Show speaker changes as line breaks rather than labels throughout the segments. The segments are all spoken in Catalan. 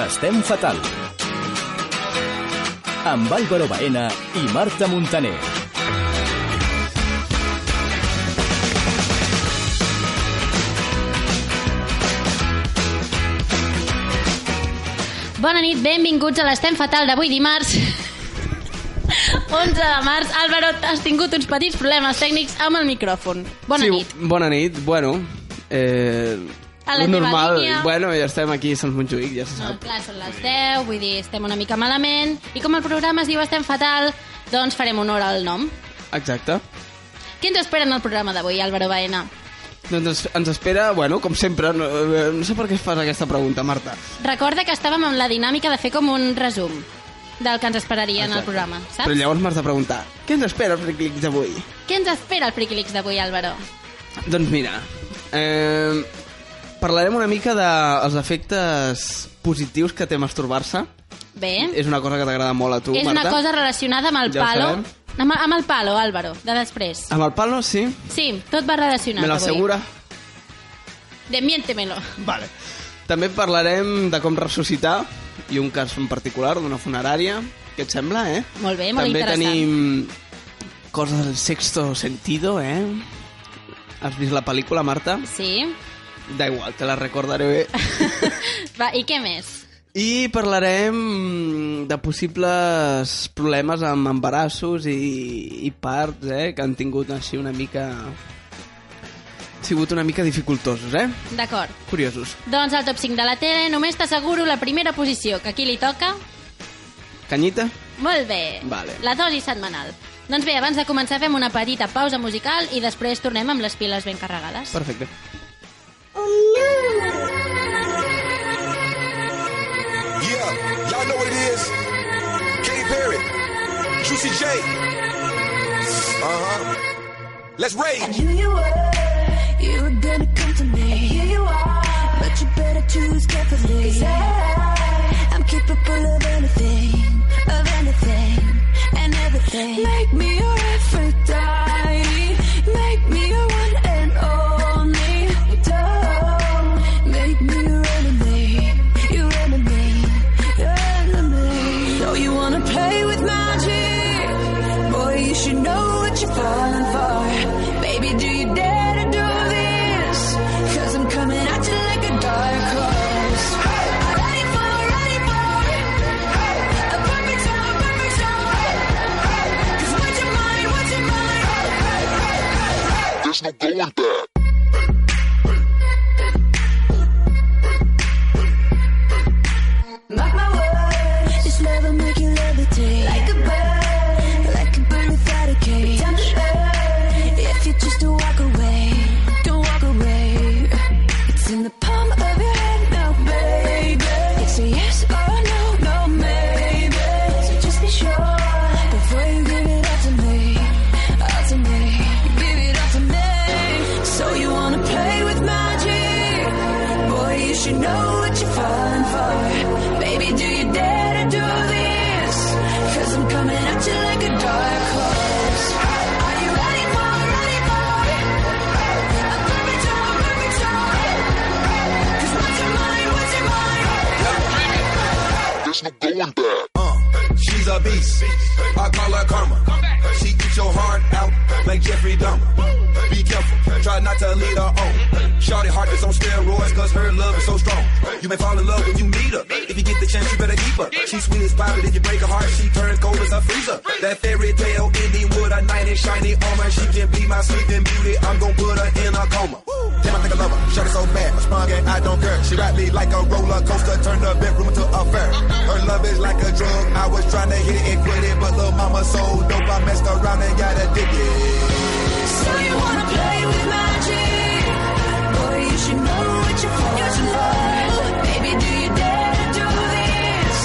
Estem fatal. Amb Álvaro Baena i Marta Montaner.
Bona nit, benvinguts a l'Estem Fatal d'avui dimarts. 11 de març. Álvaro, has tingut uns petits problemes tècnics amb el micròfon. Bona
sí,
nit.
Bona nit, bueno... Eh,
A la
lo
teva
normal,
línia.
bueno, ja estem aquí a Sant Montjuïc, ja se
No,
sap.
clar, són les 10, vull dir, estem una mica malament. I com el programa es diu Estem Fatal, doncs farem honor al nom.
Exacte.
Què ens espera en el programa d'avui, Álvaro Baena?
Doncs ens, ens espera, bueno, com sempre, no, eh, no sé per què fas aquesta pregunta, Marta.
Recorda que estàvem amb la dinàmica de fer com un resum del que ens esperaria en el
Exacte.
programa, saps?
Però llavors m'has de preguntar, què ens espera el Fric Leaks d'avui?
Què ens espera el Friquilix d'avui, Álvaro?
Doncs mira, eh, parlarem una mica dels efectes positius que té masturbar-se.
Bé,
És una cosa que t'agrada molt a tu,
Eh? és
Marta.
una cosa relacionada amb el
Ja ho
palo.
sabem.
Amb, amb el palo, Álvaro, de després.
Amb el palo, sí.
Sí, tot va relacionat
Me
avui.
l'assegura?
Demiéntemelo.
Vale. També parlarem de com ressuscitar i un cas en particular d'una funerària. Què et sembla, eh?
Molt bé, molt
També
interessant.
tenim coses del sexto sentido, eh? Has vist la pel·lícula, Marta?
Sí.
Da igual, te la recordaré bé.
Va, i què més?
I parlarem de possibles problemes amb embarassos i, i parts, eh? Que han tingut així una mica... Han sigut una mica dificultosos, eh?
D'acord.
Curiosos.
Doncs el top 5 de la tele, només t'asseguro la primera posició, que aquí li toca...
Canyita?
Molt bé.
Vale.
La dosi setmanal. Doncs bé, abans de començar fem una petita pausa musical i després tornem amb les piles ben carregades.
Perfecte.
Yeah, y'all know what it is. Katy Perry, Juicy J. Uh huh. Let's rage.
Here you were, you were gonna come to me. Here you are, but you better choose carefully. Cause I, I'm capable of anything, of anything, and everything. Make me your Aphrodite, make me your one and only. Don't make me your enemy, your enemy, your enemy. So you wanna play with magic, boy? You should know what you're falling for. Baby, do you dare to do this? Cause I'm coming at you like a dark horse. I'm ready for, ready for a perfect storm, perfect storm. 'Cause what's your mind, what's your mind?
There's no going back.
Mark my words, this love will make you levitate like a bird, like a bird without a cage. Time to earth, if you choose to walk away, don't walk away. It's in the palm of your hand now, baby. It's a yes or a no, no maybe. So just be sure before you give it up to me, up to me, give it up to me. So you wanna play with magic, boy? You should know what you're falling for. Baby, do you dare to do this? Cause I'm coming at you like a dark horse. Are you ready for, ready for a perfect storm, perfect storm? 'Cause what's your mind, what's your mind?
There's no going back. Uh, she's a beast. I call her karma. She eats your heart out like Jeffrey Dahmer. Be careful. Try not to lead her on. Shorty heart is on steroids cause her love is so strong. You may fall in love when you meet her. If you get the chance, you better keep her. She's sweet as pie, but if you break her heart, she turns cold as a freezer. That fairy tale ending with a knight in shiny armor. She can be my sleeping beauty. I'm gonna put her in a coma. Damn, I think I love her. Shut it so bad. I sprung and I don't care. She ride me like a roller coaster. Turn the bedroom into a fair. Her love is like a drug. I was trying to hit it and quit it. But little mama so dope. I messed around and got addicted.
So you wanna play with magic? Boy, you should know what you're for. Baby, do you dare to do this?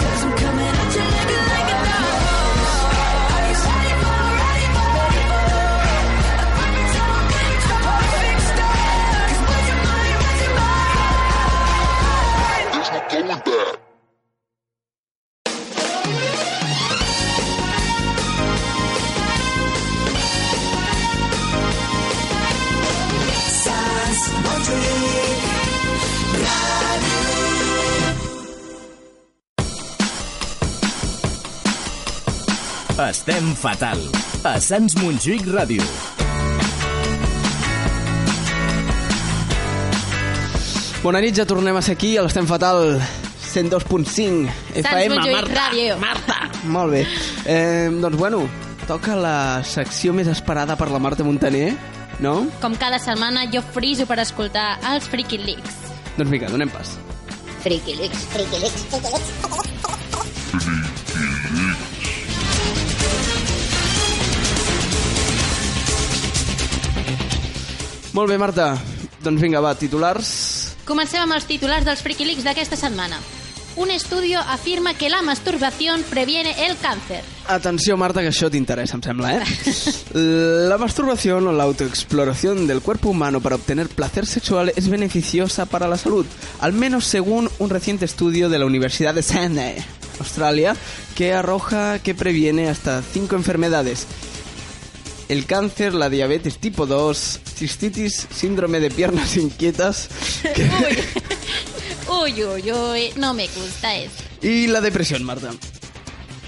Cause I'm coming at you looking like a dog. Are you ready for, ready for, ready for? A perfect storm, it's a perfect storm. 'Cause what's your mind, what's your mind? Sans Montjuïc Ràdio.
Estem fatal. A Sants Montjuïc Ràdio.
Bona nit, ja tornem a ser aquí, a l'Estem Fatal 102.5
Sants
FM.
Montjuïc Ràdio.
Molt bé. Eh, doncs, bueno, toca la secció més esperada per la Marta Montaner, no?
Com cada setmana, jo friso per escoltar els Freaky Leaks.
Doncs vinga, donem pas.
Friki Leaks. Friki Leaks. Friki Leaks.
Molt bé, Marta. Doncs vinga, va, titulars...
Comencem amb els titulars dels Freaky Leaks d'aquesta setmana. Un estudio afirma que la masturbación previene el cáncer.
Atenció, Marta, que això t'interessa, em sembla, eh? La masturbación o la autoexploración del cuerpo humano para obtener placer sexual es beneficiosa para la salud, al menos según un reciente estudio de la Universidad de Sydney, Australia, que arroja que previene hasta cinco enfermedades. El cáncer, la diabetes tipo 2, cistitis, síndrome de piernas inquietas
Uy, uy, uy, no me gusta eso.
y la depresión, Marta.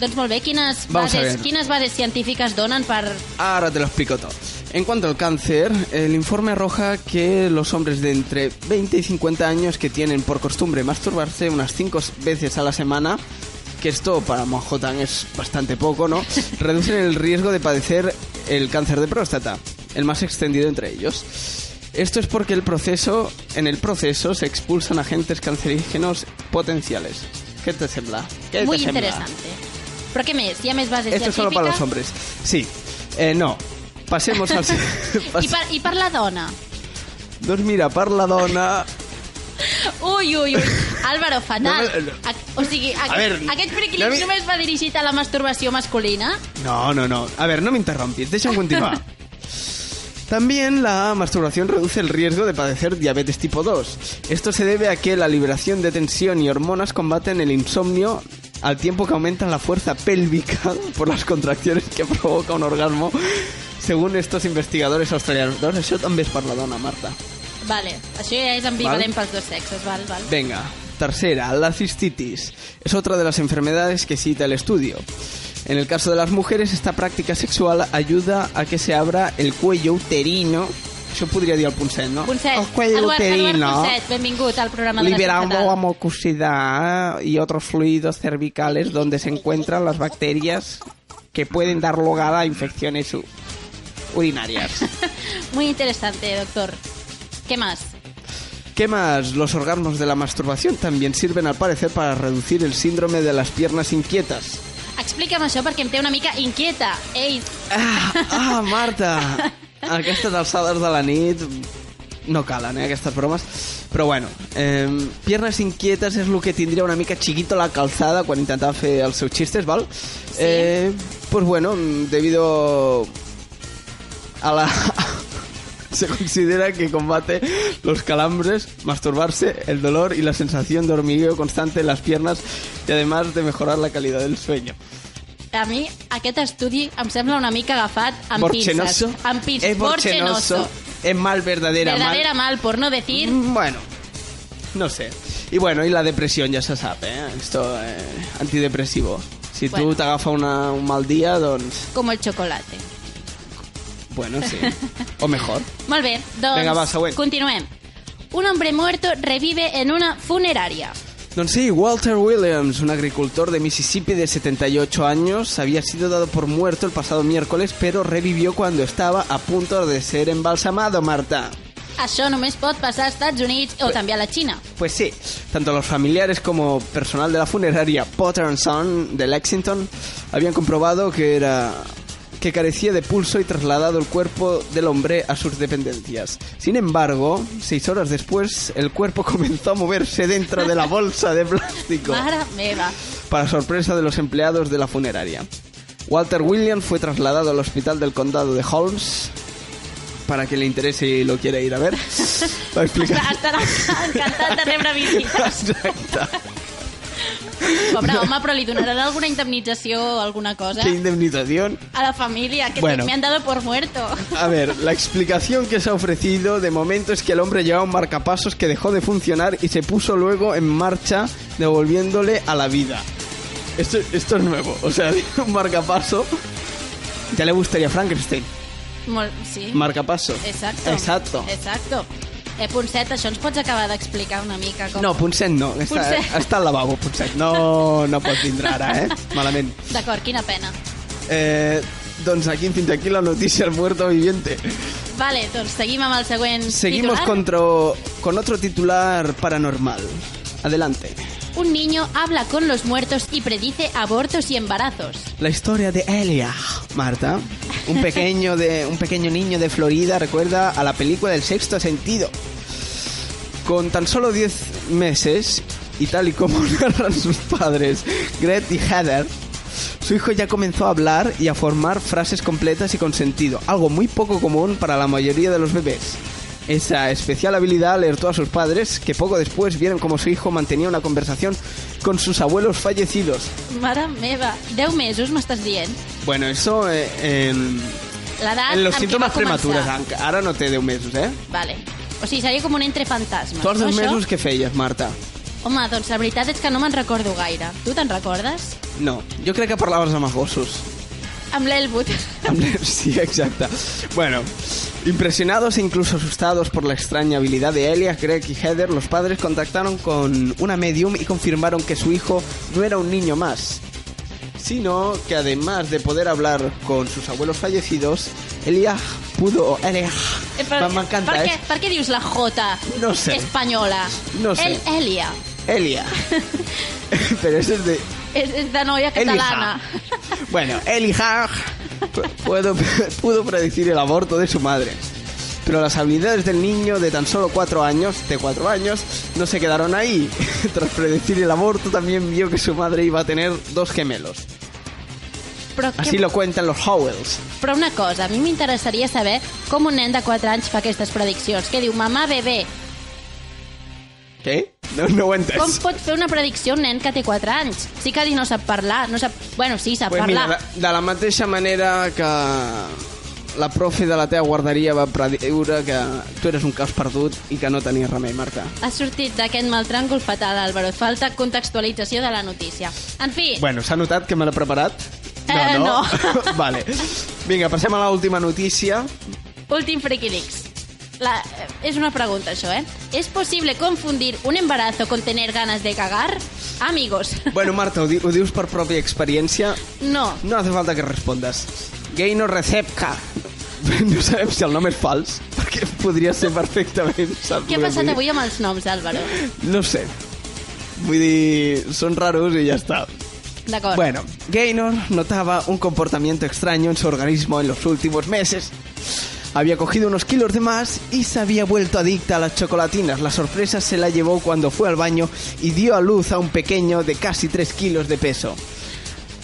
Doncs molt bé, quines
Vamos a
bases,
ver.
quines bases científicas donen per...
Ahora te lo explico todo. En cuanto al cáncer, el informe arroja que los hombres de entre 20 y 50 años que tienen por costumbre masturbarse unas 5 veces a la semana, que esto para Manhattan es bastante poco, ¿no? Reducen el riesgo de padecer el cáncer de próstata, el más extendido entre ellos. Esto es porque el proceso, en el proceso se expulsan agentes cancerígenos potenciales. ¿Qué te sembla? ¿Qué te
Muy
sembla?
interesante. Però què més? Hi ha més bases
Esto es solo para los
científiques?
hombres. Sí. Eh, no. Pasemos al...
I per, I per la dona?
Doncs mira, per la dona...
Ui, ui, ui. Álvaro, fatal.
No me- no.
Ac- O sigui, aqu
ver,
aquest Freaky
no
Leaks
me-
només va dirigit a la masturbació masculina?
No, no, no. A ver, no me interrumpís, déjame continuar. También la masturbación reduce el riesgo de padecer diabetes tipo 2. Esto se debe a que la liberación de tensión y hormonas combaten el insomnio al tiempo que aumentan la fuerza pélvica por las contracciones que provoca un orgasmo, según estos investigadores australianos. Doncs això també és per la dona, Marta.
Vale, això ja és ambivalent pels dos sexes, val, val.
Venga, tercera, la cistitis. Es otra de las enfermedades que cita el estudio. En el caso de las mujeres, esta práctica sexual ayuda a que se abra el cuello uterino. Yo podría decir al punset, ¿no?
Ponset,
el cuello
Eduard, Eduard
uterino.
Ponset, benvingut al programa de la
liberando la
Ciutat.
mucosidad y otros fluidos cervicales donde se encuentran las bacterias que pueden dar lugar a infecciones u- urinarias.
Muy interesante, doctor. ¿Qué más?
¿Qué más? Los orgasmos de la masturbación también sirven al parecer para reducir el síndrome de las piernas inquietas.
Explica'm això perquè em té una mica inquieta. Ei,
Ah, ah Marta! A aquestes alçades de la nit no calen, eh, aquestes bromes. Però bueno, eh, piernas inquietes és el que tindria una mica chiquito la calzada quan intentava fer els seus xistes, val? Sí. Eh, pues bueno, mm, debido a la... Se considera que combate los calambres, masturbarse, el dolor y la sensación de hormigueo constante en las piernas y además de mejorar la calidad del sueño.
a mi aquest estudi em sembla una mica agafat amb
Borchenoso.
pinces. Amb pinces.
Es borchenoso. Es mal verdadera,
Verdadera
mal.
mal, por no decir...
Mm, Bueno, no sé. Y bueno, y la depresión ya se sabe, ¿eh? Esto eh, antidepresivo. Si
Bueno.
tú te agafas una, un mal día, doncs...
com el xocolate.
Bueno, sí. o mejor.
Molt bé, doncs
Vinga, va, següent.
continuem. Un hombre muerto revive en una funeraria.
Doncs sí, Walter Williams, un agricultor de Mississippi de 78 años, había sido dado por muerto el pasado miércoles, pero revivió cuando estaba a punto de ser embalsamado, Marta.
Això només pot passar als Estats Units o també a la Xina.
Pues sí, tanto los familiares como personal de la funeraria Potter and Son de Lexington habían comprobado que era que carecía de pulso y trasladado el cuerpo del hombre a sus dependencias. Sin embargo, seis horas después, el cuerpo comenzó a moverse dentro de la bolsa de plástico
Mare meva.
para sorpresa de los empleados de la funeraria. Walter William fue trasladado al hospital del condado de Holmes para que le interese y lo quiera ir a ver. Va a explicar.
Està- Estarà encantat de rebre visites.
Exacte.
Pobre home, però li donaran alguna indemnització o alguna cosa
¿Qué indemnización?
a la familia, que
Bueno.
me han dado por muerto.
A ver, la explicación que se ha ofrecido de momento es que el hombre llevaba un marcapasos que dejó de funcionar y se puso luego en marcha devolviéndole a la vida. Esto, esto es nuevo, o sea, un marcapaso. Ya le gustaría a Frankenstein.
Molt, sí.
Marcapaso.
Exacto.
Exacto.
Exacto. Eh, Ponset, això ens pots acabar d'explicar una mica com...
No, Ponset no. Està,
Ponset.
està al lavabo, Ponset. No, no pot vindre ara, eh? Malament.
D'acord, quina pena.
Eh, doncs aquí, fins aquí la notícia al muerto viviente.
Vale, doncs seguim amb el següent
Seguimos
titular.
contra, con otro titular paranormal. Adelante.
Un niño habla con los muertos y predice abortos y embarazos.
La historia de Elia, Marta. Un pequeño, de, un pequeño niño de Florida recuerda a la película del sexto sentido. Con tan solo 10 meses, y tal y como narran sus padres, Gret y Heather, su hijo ya comenzó a hablar y a formar frases completas y con sentido, algo muy poco común para la mayoría de los bebés. Esa especial habilidad alertó a sus padres, que poco después vieron como su hijo mantenía una conversación con sus abuelos fallecidos.
Mare meva, 10 mesos m'estàs dient?
Bueno, eso eh, en,
L'edat
en los
amb què
síntomas
va començar.
prematures. enca- Ara no té 10 mesos, eh?
Vale. O sigui, seria com un entre fantasmes.
Tu als
no,
10
això?
mesos què feies, Marta?
Home, doncs la veritat és que no me'n recordo gaire. Tu te'n recordes?
No, jo crec que parlaves amb els gossos.
Amb l'Elwood.
Amb- Sí, exacte. Bueno, impresionados e incluso asustados por la extraña habilidad de Elias, Greg y Heather, los padres contactaron con una medium y confirmaron que su hijo no era un niño más, sino que además de poder hablar con sus abuelos fallecidos, Elias pudo... Elias...
Eh,
M'encanta,
per,
eh?
què, per què dius la J
No sé.
espanyola?
No sé.
El, Elia.
Elia. Pero eso es de
És, és de noia catalana.
Elija. Bueno, Elija pudo, pudo predecir el aborto de su madre. Pero las habilidades del niño de tan solo cuatro años, de cuatro años, no se quedaron ahí. Tras predecir el aborto, también vio que su madre iba a tener dos gemelos.
Però,
Así
que,
lo cuentan los Howells.
però una cosa, a mi m'interessaria saber com un nen de 4 anys fa aquestes prediccions. Que diu, mamà, bebé,
¿Qué? No, no cuentas.
com pot fer una predicció un nen que té 4 anys? Sí que dir no sap parlar, no sap... Bueno, sí, sap
Pues
parlar.
mira, de, de la mateixa manera que la profe de la teva guarderia va prediure que tu eres un caos perdut i que no tenies remei, Marta.
Ha sortit d'aquest mal tràngol fatal, Álvaro. Falta contextualització de la notícia. En fi,
Bueno, s'ha notat que me l'he preparat?
Eh, no.
vale. Vinga, passem a l'última notícia.
Últim Freaky Leaks. La, es una pregunta això, eh? ¿Es posible confundir un embarazo con tener ganas de cagar? Amigos,
Bueno, Marta, ho, di ho dius per pròpia experiència.
no.
No hace falta que respondes. Gaino Recepka. No sabem si el nom és fals, perquè podria ser perfectament. saps
Què ha
el que
passat
vull dir?
avui amb els noms, Álvaro?
No sé. Vull dir, són raros i ja està.
D'acord.
Bueno, Gaynor notaba un comportamiento extraño en su organismo en los últimos meses. Había cogido unos kilos de más y se había vuelto adicta a las chocolatinas. La sorpresa se la llevó cuando fue al baño y dio a luz a un pequeño de casi 3 kilos de peso.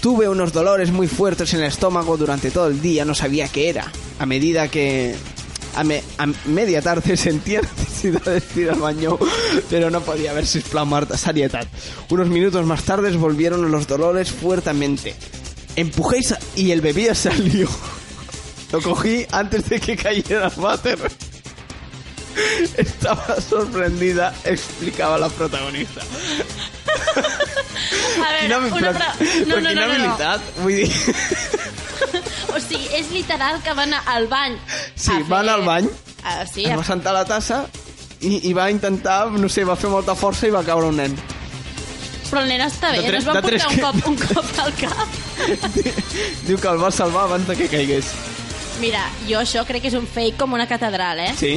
Tuve unos dolores muy fuertes en el estómago durante todo el día, no sabía qué era. A medida que... A, me- a media tarde sentía necesidad de ir al baño, pero no podía ver si es plan Marta Sarietat. Unos minutos más tarde volvieron los dolores fuertemente. Empujé y sa- y el bebé salió. Lo cogí antes de que cayera al váter. Estaba sorprendida, explicaba la protagonista.
a veure,
Quina-
una
però-
altra... No,
però
no, no, no,
quina
no.
habilitat, vull dir...
O sigui, és literal que van anar al bany.
Sí,
a
va anar al bany.
Ah, sí,
Es
a...
va sentar a la tassa i, i va intentar, no sé, va fer molta força i va caure un nen.
però el nen està bé,
De
no
tres-
es va
de tres
posar un
que-
cop, un cop al cap.
Diu que el va salvar abans de que caigués.
Mira, jo això crec que és un fake com una catedral, eh?
Sí?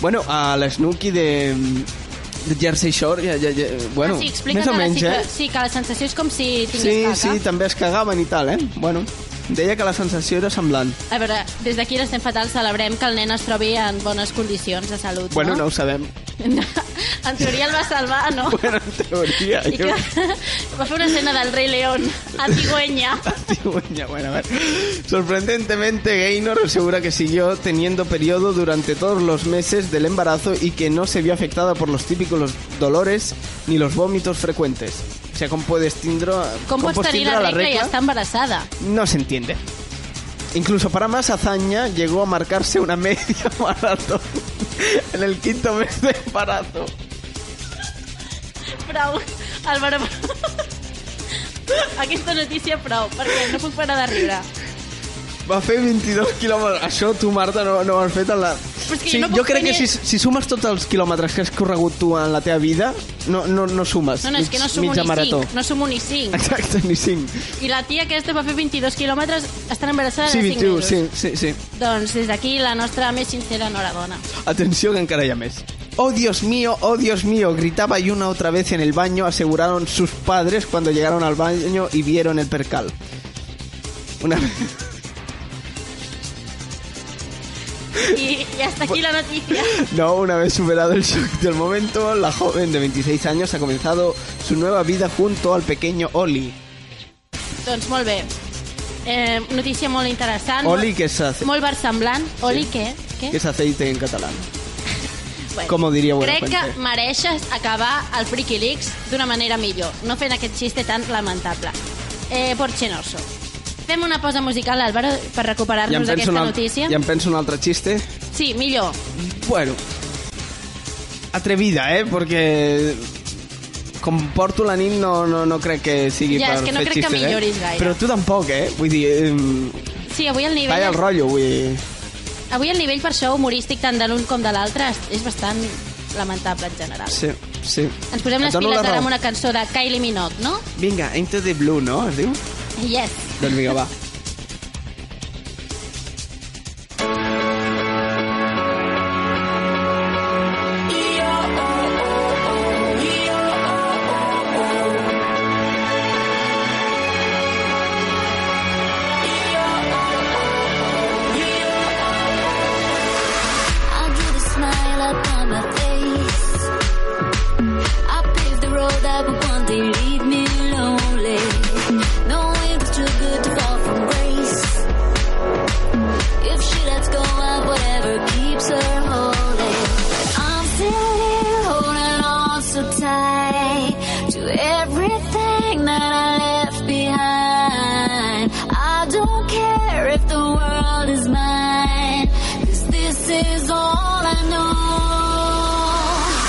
Bueno, a l'Snooki de, de Jersey Shore, ja, ja, ja, bueno,
ah, sí, expliquen
més o
que la-
menys,
sí,
eh?
que, sí, que la sensació és com si tingués
Sí,
caca.
sí, també es cagaven i tal, eh? Bueno, deia que la sensació era semblant.
A veure, des d'aquí l'estem fatal, celebrem que el nen es trobi en bones condicions de salut,
Bueno, no
no?
ho sabem.
en teoria el va salvar, no?
Bueno, en teoria,
I
jo...
que va fer una escena del rei León a Tigüenya.
Cigüeña, bueno, a ver. Sorprendentemente, Gaynor asegura que siguió teniendo periodo durante todos los meses del embarazo y que no se vio afectada por los típicos dolores ni los vómitos frecuentes. O sea, ¿cómo puedes tindro,
Com pots tenir la regla, i estar embarassada?
No se entiende. Incluso para más hazaña, llegó a marcarse una media maratón en el quinto mes de embarazo.
Prou, Álvaro. Aquesta notícia prou, perquè no puc parar de riure.
Va fer 22 quilòmetres. Això tu, Marta, no, no ho has fet en la...
Però és que jo no puc
jo crec
fer ni-
que si, si sumes tots els quilòmetres que has corregut tu en la teva vida, no, no, no sumes.
No, no, és que no
Mig-
som un
mitja
i
marató.
cinc. No som un i cinc.
Exacte, ni 5.
I la tia aquesta va fer 22 quilòmetres, estan embarassada
Sí,
de 5
21,
mesos.
sí, sí, sí.
Doncs des d'aquí la nostra més sincera enhorabona.
Atención que encara hay más. Oh Dios mío, oh Dios mío, gritaba y una otra vez en el baño, aseguraron sus padres cuando llegaron al baño y vieron el percal. Una vez.
I, i hasta aquí la notícia.
No, una vez superado el shock del momento, la joven de 26 años ha comenzado su nueva vida junto al pequeño Oli.
Doncs molt bé. Eh, notícia molt interessant.
Oli, que es, ace-
Molt versemblant. Oli, què? Què?
que es aceite en catalán.
Bueno,
com ho diria
Crec
Buenafuente.
que mereixes acabar el Friki Leaks d'una manera millor, no fent aquest xiste tan lamentable. Eh, Porchenoso. Fem una pausa musical, Álvaro, per recuperar-nos d'aquesta
un, al-
notícia.
ja em penso un altre chiste.
Sí, millor.
Bueno, atrevida, eh? Perquè com porto la nit no, no, no crec que sigui
Ja,
per
és que no
fer
crec que
xistes,
milloris
eh?
gaire.
Però tu tampoc, eh? Vull dir, eh,
Sí, avui el nivell,
talla el rotllo, vull dir...
avui el nivell per això humorístic tant de l'un com de l'altre és- és bastant lamentable en general.
Sí, sí.
Ens posem les
Et dono
piles
la
ara
raó.
amb una cançó de Kylie Minogue, no?
Vinga, Into the Blue, no? Es diu?
Yes.
Doncs vinga, va.
E
I'll get a smile upon my face. I paved the road that would one day lead me lonely. Knowing it's too good to fall from grace. If she lets go of whatever keeps her holding. But I'm still here holding on so tight to everything that I left behind. I don't care if the world is mine. 'cause this is all I know.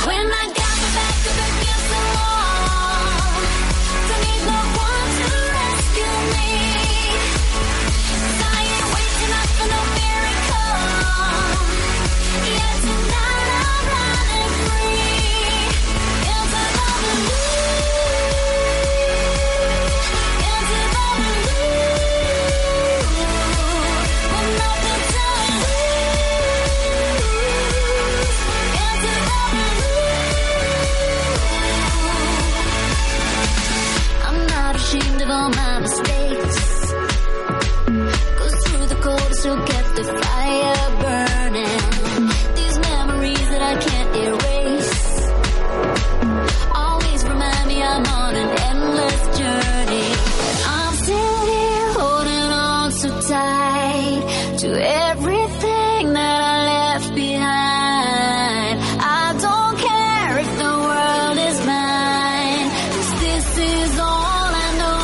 When I got my back up against the wall, don't need no one to rescue me. Dying, waking up for no miracle. Yet tonight I'm running free. Into the blue. Into the blue. With nothing to lose. Into the blue. I'm not ashamed of all my mistakes. Goes through the cold, still kept the fire burning. These memories that I can't erase always remind me I'm on an endless journey. I'm still here holding on so tight to everything that I left behind. I don't care if the world is mine, 'cause this is all I know.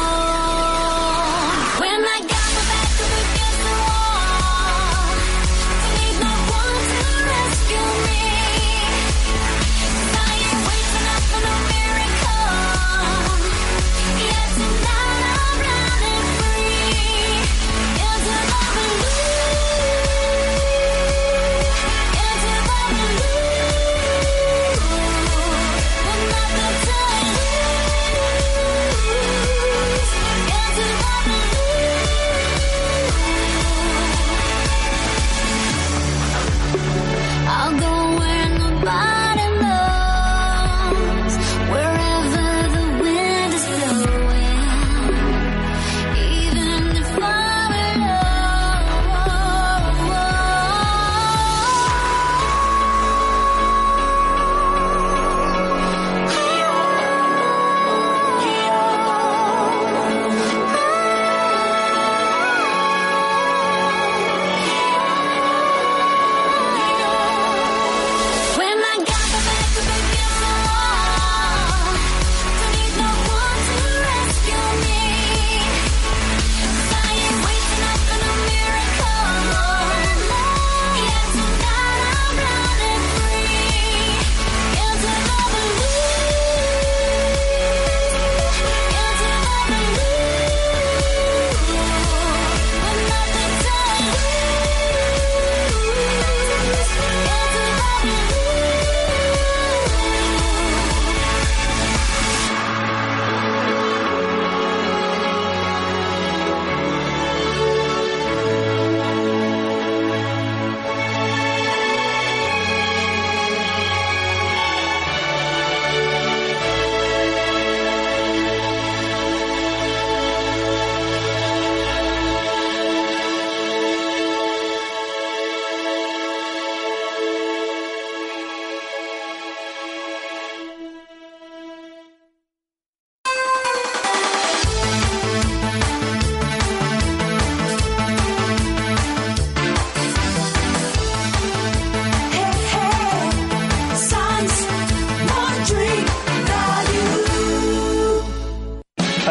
oh, oh, oh.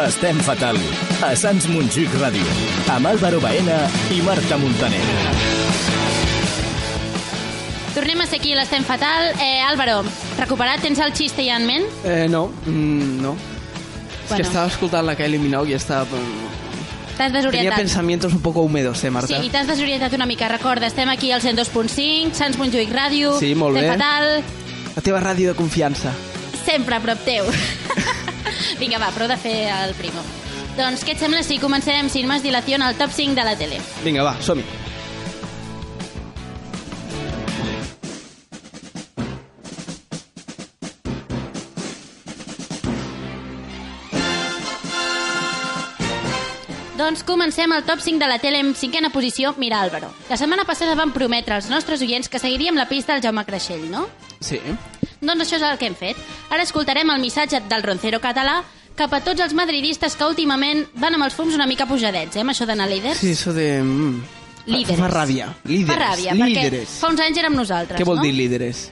Estem fatal. A Sants Montjuïc Ràdio. Amb Álvaro Baena i Marta Montaner.
Tornem a ser aquí, l'estem fatal. Eh, Álvaro, recuperat, tens el xiste ja en ment?
Eh, no, mm, no. Es que
Bueno.
estaba escuchando la Kylie Minogue y estaba... mm,
T'has
Tenía
desorientat.
pensamientos un poco húmedos, eh, Marta?
Sí, i t'has desorientat una mica. Recorda, estem aquí al 102.5, Sants Montjuïc Ràdio,
Sí, molt
Estem
bé.
fatal,
La teva ràdio de confiança.
sempre a prop teu. Vinga, va, prou de fer el primo. Doncs què et sembla si comencem, sin més dilació, al top 5 de la tele?
Vinga, va, som-hi.
Doncs comencem el top 5 de la tele en cinquena posició, Mira Álvaro. La setmana passada vam prometre als nostres oients que seguiríem la pista del Jaume Creixell, no?
Sí.
Doncs això és el que hem fet. Ara escoltarem el missatge del roncero català cap a tots els madridistes que últimament van amb els fums una mica pujadets, eh, amb això d'anar líders.
Sí, això de... Mm, fa-
Líderes.
Fa ràbia. Líderes.
Fa ràbia,
líderes.
perquè fa uns anys érem nosaltres,
Què vol
no?
dir líderes?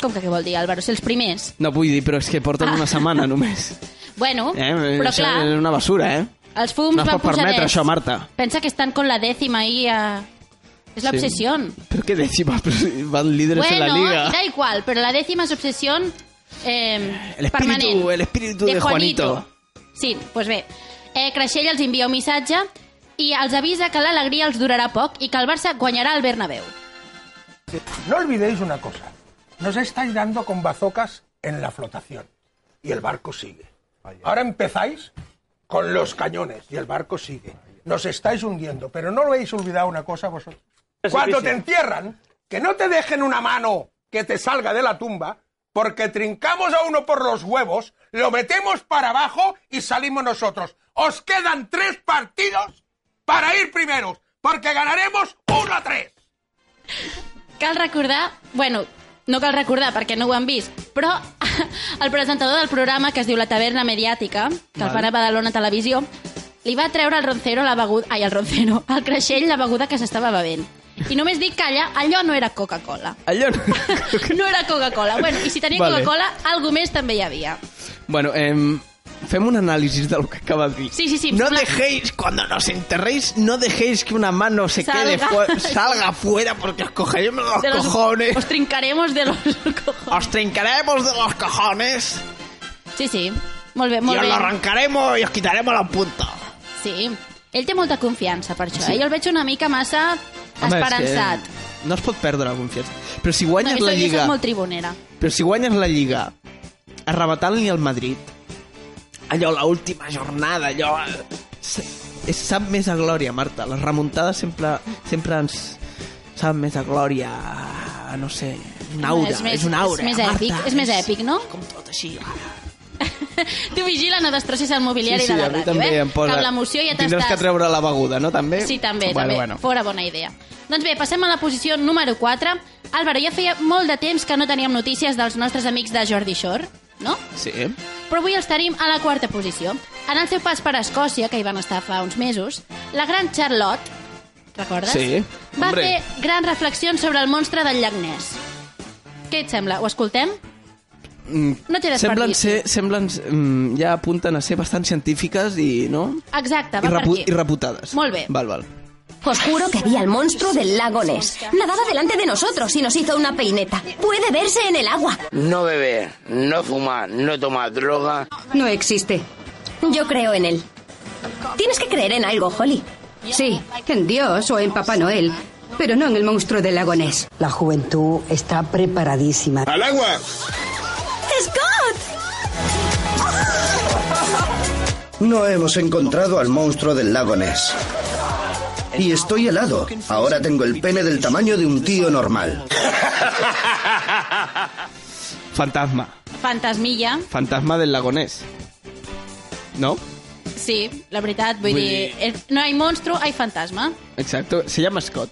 Com que què vol dir, Álvaro? Ser els primers.
No vull dir, però és que porten una setmana només.
Bueno,
Eh?
Ah. però
això
clar,
és una basura, eh?
els fums
no es
van
pot permetre
pujadets.
això, Marta.
Pensa que estan con la dècima ahí a... És l'obsessió.
Però què dècima? Però si Van líderes en la
Bueno,
liga.
da igual, però la décima és obsessió eh,
El espíritu-
permanent.
el espíritu de Juanito.
Sí, doncs pues bé. Eh, Creixell els envia un missatge i els avisa que l'alegria els durarà poc i que el Barça guanyarà el Bernabéu.
No olvidéis una cosa. Nos estáis dando con bazocas en la flotación. Y el barco sigue. Ahora empezáis con los cañones y el barco sigue. Nos estáis hundiendo, pero no lo habéis olvidado una cosa vosotros. Cuando te entierran, que no te dejen una mano que te salga de la tumba, porque trincamos a uno por los huevos, lo metemos para abajo y salimos nosotros. Os quedan tres partidos para ir primeros, porque ganaremos uno a tres.
Cal recordar... Bueno, no cal recordar perquè no ho han vist, però el presentador del programa, que es diu La Taverna Mediàtica, que el fan a Badalona Televisió, li va treure al roncero la beguda... Ai, al roncero, al creixell la beguda que s'estava bevent. I només dic que allà, allò no era Coca-Cola.
Allò no...
No era Coca-Cola. Bueno, i si tenia
Vale. Oh,
Coca-Cola, algú més també hi havia.
Bueno, em, fem un análisis de lo que acabas de decir.
Sí, sí, sí,
No
pla-
dejéis, cuando nos enterréis, no dejéis que una mano se
Salga.
quede fu- salga fuera porque os cogeremos los,
De los-
cojones.
Os trincaremos de los cojones.
Os trincaremos de los cojones
Sí, sí. Molt bé,
y
molt
os
bé.
lo arrancaremos y os quitaremos la punta.
Sí. Ell té molta confiança per això. Sí. Eh? Jo el veig una mica massa esperançat.
no es pot perdre la confiança. Però si
No,
guanyes
jo
la
soc, jo
Lliga...
soc molt tribunera.
Però si guanyes la Lliga arrebatant-li al Madrid, allò, la última jornada, allò... s- És, sap més a glòria, Marta. Les remuntades sempre, sempre ens sap més a glòria, eh, no sé, un aura, és,
més-
una aura,
és més
Marta,
èpic, és més èpic, no?
Com tot així.
tu vigila, no destrossis el mobiliari de la ràdio, eh? Que amb l'emoció ja t'estàs...
Tindràs que treure la beguda, no, també?
Sí, també,
bueno,
també.
Bueno.
Fora bona idea. Doncs bé, passem a la posició número 4. Álvaro, ja feia molt de temps que no teníem notícies dels nostres amics de Jordi Shore, no?
Sí.
Però avui els tenim a la quarta posició. En el seu pas per Escòcia, que hi van estar fa uns mesos, la gran Charlotte, recordes?
Sí,
Va
hombre.
fer grans reflexions sobre el monstre del llac Ness. Què et sembla? Ho escoltem? No té
Semblen
desperdici.
ser, semblen, mm, ja apunten a ser bastant científiques i, no?
Exacte,
I,
va
repu
per
i
aquí.
reputades.
Molt bé.
Val, val.
Os juro que vi al monstruo del lago Ness. Nadaba delante de nosotros y nos hizo una peineta. Puede verse en el agua.
No beber, no fumar, no tomar droga.
No existe. Yo creo en él. Tienes que creer en algo, Holly. Sí, en Dios o en Papá Noel, pero no en el monstruo del lago Ness.
La juventud está preparadísima.
Al agua!
¡Scott!
No hemos encontrado al monstruo del lago Ness. Y estoy helado. Ahora tengo el pene del tamaño de un tío normal.
Fantasma.
Fantasmilla.
Fantasma del lagonés. ¿No?
Sí, la veritat, vull,
Vull
dir... eh, No hi ha monstru, hi ha fantasma.
Exacto. Se llama Scott.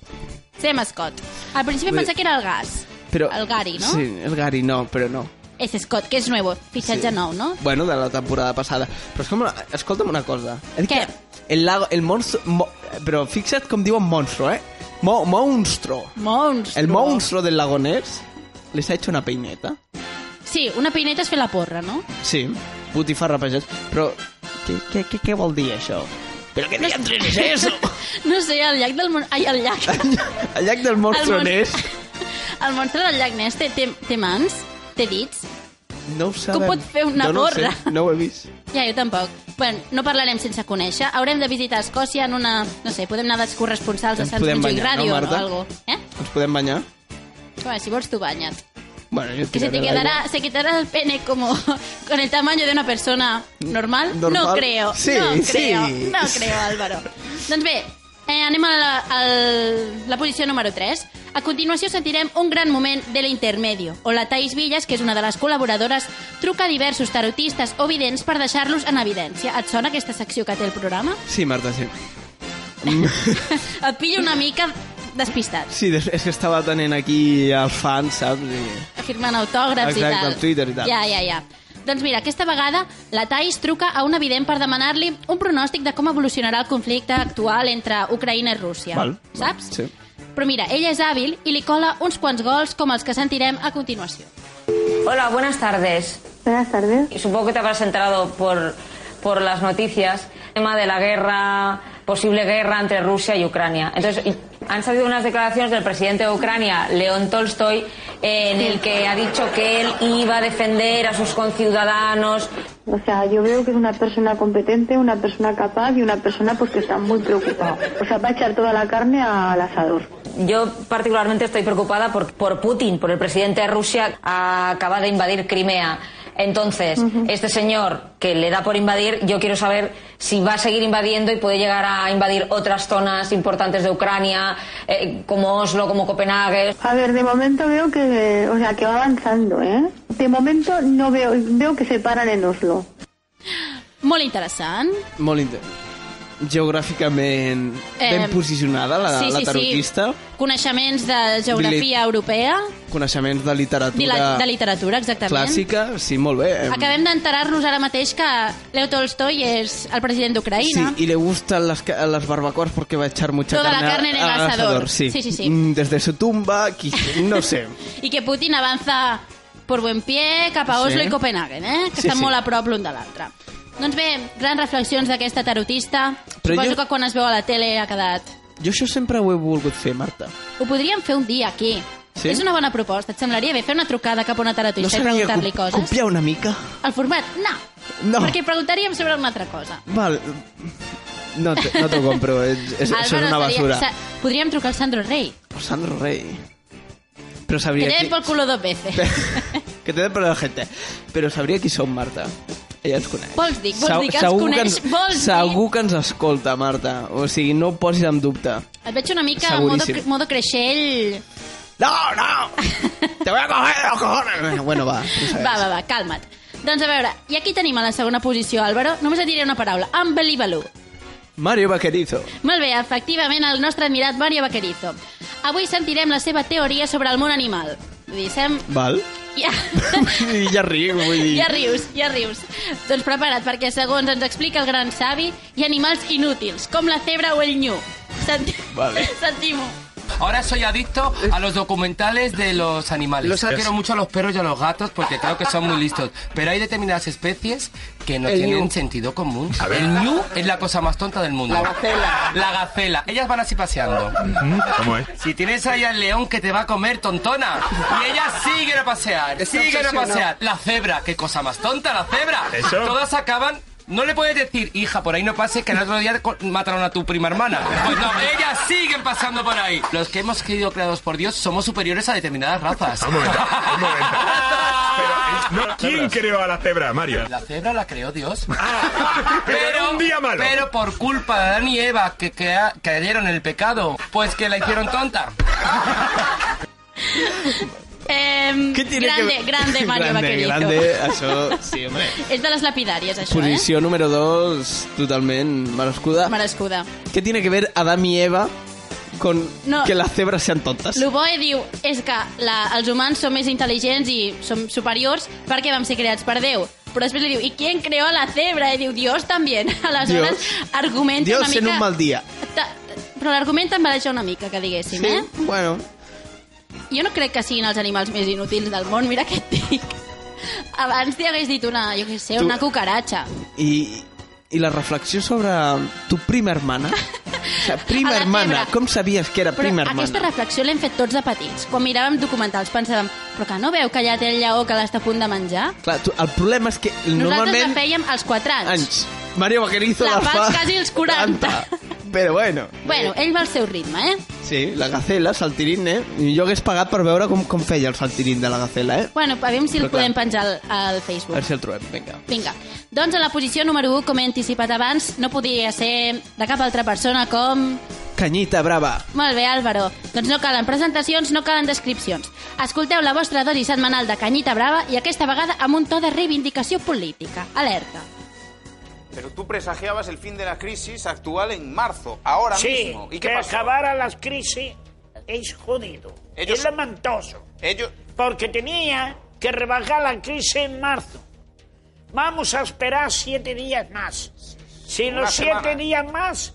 Sem Scott. Al principi
Vull dir-
pensava que era el gas.
Pero,
El Gary, no?
Sí, el Gary no, pero no.
És Scott, que és nuevo. Fitxatge
Sí.
nou, no?
Bueno, de la temporada passada. Però és com... Una... Escolta'm una cosa. He dit
Què?
que El, lago, el monstru... Mo... Però fixa't com diuen monstru, eh? Mo... Monstru.
Monstru.
El monstru del lagonés les ha hecho una peineta.
Sí, una peineta és fer la porra, no?
Sí, putifarra pagès. Però Què, què, què, què vol dir això? Però què diantres és eso?
No sé, el llac del... Mon- Ai, el llac.
El llac del monstro
El mon-
n'és?
El monstre del llac Ness té, té, té mans? Té dits?
No ho sabem.
pot fer una
jo no ho sé,
porra?
No ho he vist.
Ja, jo tampoc. Bueno, no parlarem sense conèixer. Haurem de visitar Escòcia en una... No sé, podem anar dels corresponsals de
Ens
Sants
podem
Montjuïc
banyar, no,
Ràdio
Marta?
o algo. Eh?
Ens podem banyar?
Bueno, si vols tu banya't.
Bueno, jo
Que se te
tiraré l'aigua.
quedará, se quitará el pene como con el tamaño de una persona normal. No
Normal.
creo,
Sí,
no
sí.
creo, no creo, Álvaro. Doncs bé, eh, anem a la, al, la posició número 3. A continuació sentirem un gran moment de l'intermedio, on la Thais Villas, que és una de les col·laboradores, truca a diversos tarotistes o vidents per deixar-los en evidència. Et sona aquesta secció que té el programa?
Sí, Marta, sí. Mm.
Et pillo una mica despistat,
Sí, des- és que estava tenint aquí el fan, saps? I...
firmant autògrafs i
Exacte,
tal.
al Twitter i tal.
Ja, ja, ja. Doncs mira, aquesta vegada la Thais truca a un evident per demanar-li un pronòstic de com evolucionarà el conflicte actual entre Ucraïna i Rússia.
Val, val,
Saps?
Sí.
Però mira, ella és hàbil i li cola uns quants gols com els que sentirem a continuació.
Hola, buenas tardes. Buenas tardes. Supongo que te habrás enterado por, por las noticias, el tema de la guerra, posible guerra entre Rusia y Ucrania. Entonces, y- han salido unas declaraciones del presidente de Ucrania, León Tolstoy, eh, en el que ha dicho que él iba a defender a sus conciudadanos.
O sea, yo veo que es una persona competente, una persona capaz y una persona pues que está muy preocupada. O sea, va a echar toda la carne al asador.
Yo particularmente estoy preocupada por, por Putin, por el presidente de Rusia, ah, acaba de invadir Crimea. Entonces, este señor que le da por invadir, yo quiero saber si va a seguir invadiendo y puede llegar a invadir otras zonas importantes de Ucrania, eh, como Oslo, como Copenhague.
A ver, de momento veo que, o sea, que va avanzando, ¿eh? De momento no veo, veo que se paran en Oslo.
Molt interessant.
Molt inter... Geogràficament ben
Eh,
posicionada, la,
sí,
la
sí,
tarotista.
sí. Coneixements de geografia europea,
Coneixements de
de, la,
literatura
de literatura, exactament.
clàssica. Sí, molt bé.
Acabem d'enterar-nos ara mateix que Leo Tolstoi és el president
Sí,
d'Ucraïna.
y le gustan las, ca- las barbacoas porque va a echar mucha
Toda la
carne, a-
carne en el
al
asador.
Sí.
Sí, sí, sí.
Mm, Desde su tumba, quiz- no sé.
I que Putin avança per buen pie cap a Oslo
Sí.
i Copenhagen, eh? que
Sí,
sí, estan
sí.
sí. molt a prop l'un de l'altre. Doncs bé, grans reflexions d'aquesta tarotista.
Però
Suposo
jo-
que quan es veu a la tele ha quedat...
Jo això sempre ho he volgut fer, Marta.
Ho podríem fer un dia aquí.
Sí?
És una bona proposta. Et semblaria bé fer una trucada cap a una
No
tarotista i
serà que
preguntar-li
cop-
coses?
copiar una mica?
El format? No.
No.
Perquè preguntaríem sobre una altra cosa.
Val. No te, no te compro, eh, és, és, això és
Álvaro
una
seria-
basura.
sa- Podríem trucar al Sandro Rey.
Sandro Rey. Però
Que
sabria
te
qui...
den por culo dos veces.
Que te den per la gente. Però sabria qui som, Marta. Ella ens coneix.
Vols dir, vols dir que ens
segur
coneix?
Que ens,
Vols dir?
segur que ens escolta, Marta. O sigui, no ho posis en dubte.
Et veig una mica modo,
Seguríssim.
cre- modo creixell...
No, no! Te voy a coger los cojones! Bueno, va. no sé.
Va, va, va, calma't. Doncs a veure, i aquí tenim a la segona posició, Álvaro. Només et diré una paraula. Unbelievable.
Mario Vaquerizo.
Molt bé, efectivament, el nostre admirat Mario Vaquerizo. Avui sentirem la seva teoria sobre el món animal. Vull dir, sem...
Val?
Ja,
I ja ric, vull dir...
ja rius, ja rius. Doncs prepara't, perquè segons ens explica el gran savi, hi ha animals inútils, com la cebra o el ñu. Senti...
Vale.
Sentim-ho.
Ahora soy adicto a los documentales de los animales.
Los-
Quiero mucho a los perros y a los gatos porque creo que son muy listos. Pero hay determinadas especies que no
El
tienen
Eh,
ñu.
sentido común. El ñu es la cosa más tonta del mundo.
La gacela.
La gacela. Ellas van así paseando.
¿Cómo es?
Si tienes ahí al león que te va a comer, tontona. Y ellas siguen a pasear,
Está
siguen a
obsesionado.
pasear. La cebra, qué cosa más tonta, la cebra.
Eso.
Todas acaban... No le puedes decir, hija, por ahí no pases, que el otro día co- mataron a tu prima hermana. Pues no, ellas siguen pasando por ahí. Los que hemos sido creados por Dios somos superiores a determinadas razas.
Un momento, un momento. Pero, eh, no, ¿Quién creó a la cebra, Mario? Ah,
La cebra la creó Dios. pero un día malo. Pero por culpa de Adán y Eva que, crea- cayeron en el pecado, pues que la hicieron tonta.
Eh,
Què tiene que
grande,
ver-
grande Mario
grande,
Vaquerizo.
grande, això, sí, ¿eh? home.
És de les lapidàries, això,
Posició número 2, totalment merescuda.
eh? Merescuda.
¿Qué tiene que ver Adam y Eva con
No.
que las cebras sean tontas?
Lo bo, eh, diu, és que la, els humans som més intel·ligents i som superiors perquè vam ser creats per Déu. Però després li diu, i qui creó a la cebra? I diu, Dios també. Aleshores,
Dios.
argumenta
Dios
una mica...
en un mal día.
Ta- Però l'argument em mereix una mica, que diguéssim, sí. eh?
Bueno,
Jo no crec que siguin els animals més inútils del món, mira què et dic. Abans t'hi hagués dit una, jo què sé,
Tu-
una cucaratxa.
y i la reflexió sobre tu prima hermana. O sigui, prima
A la
hermana,
febre.
com sabies que era
Però
prima
aquesta
hermana?
reflexió l'hem fet tots de petits. Quan miràvem documentals pensàvem però que no veu que ja té el lleó que l'està a punt de menjar?
Clar, tu, el problema és que
Nosaltres
normalment...
la fèiem als 4 anys.
Anys. Mario Vaquerizo
La
la,
fas
fa...
quasi als 40.
Però bueno.
Bueno, ell va al seu ritme, eh?
Sí, la gacela, el saltirín, eh? Jo hagués pagat per veure com, com feia el saltirín de la gacela, eh?
Bueno, a veure si el
Però clar.
podem penjar al, al
A
Facebook.
veure si el trobem, vinga.
Vinga, doncs a la posició número 1, com he anticipat abans, no podia ser de cap altra persona com...
Canyita brava.
Molt bé, Álvaro. Doncs no calen presentacions, no calen descripcions. Escolteu la vostra dosi setmanal de Canyita Brava i aquesta vegada amb un to de reivindicació política. Alerta.
Pero tú presagiabas el fin de la crisis actual en marzo, ahora
sí,
mismo. ¿Y qué
que
pasó?
acabara las crisis es jodido,
Ellos-
es lamentoso.
Ellos...
Porque tenía que rebajar la crisis en marzo. Vamos a esperar siete días más. Si en
Una
los siete
semana.
días más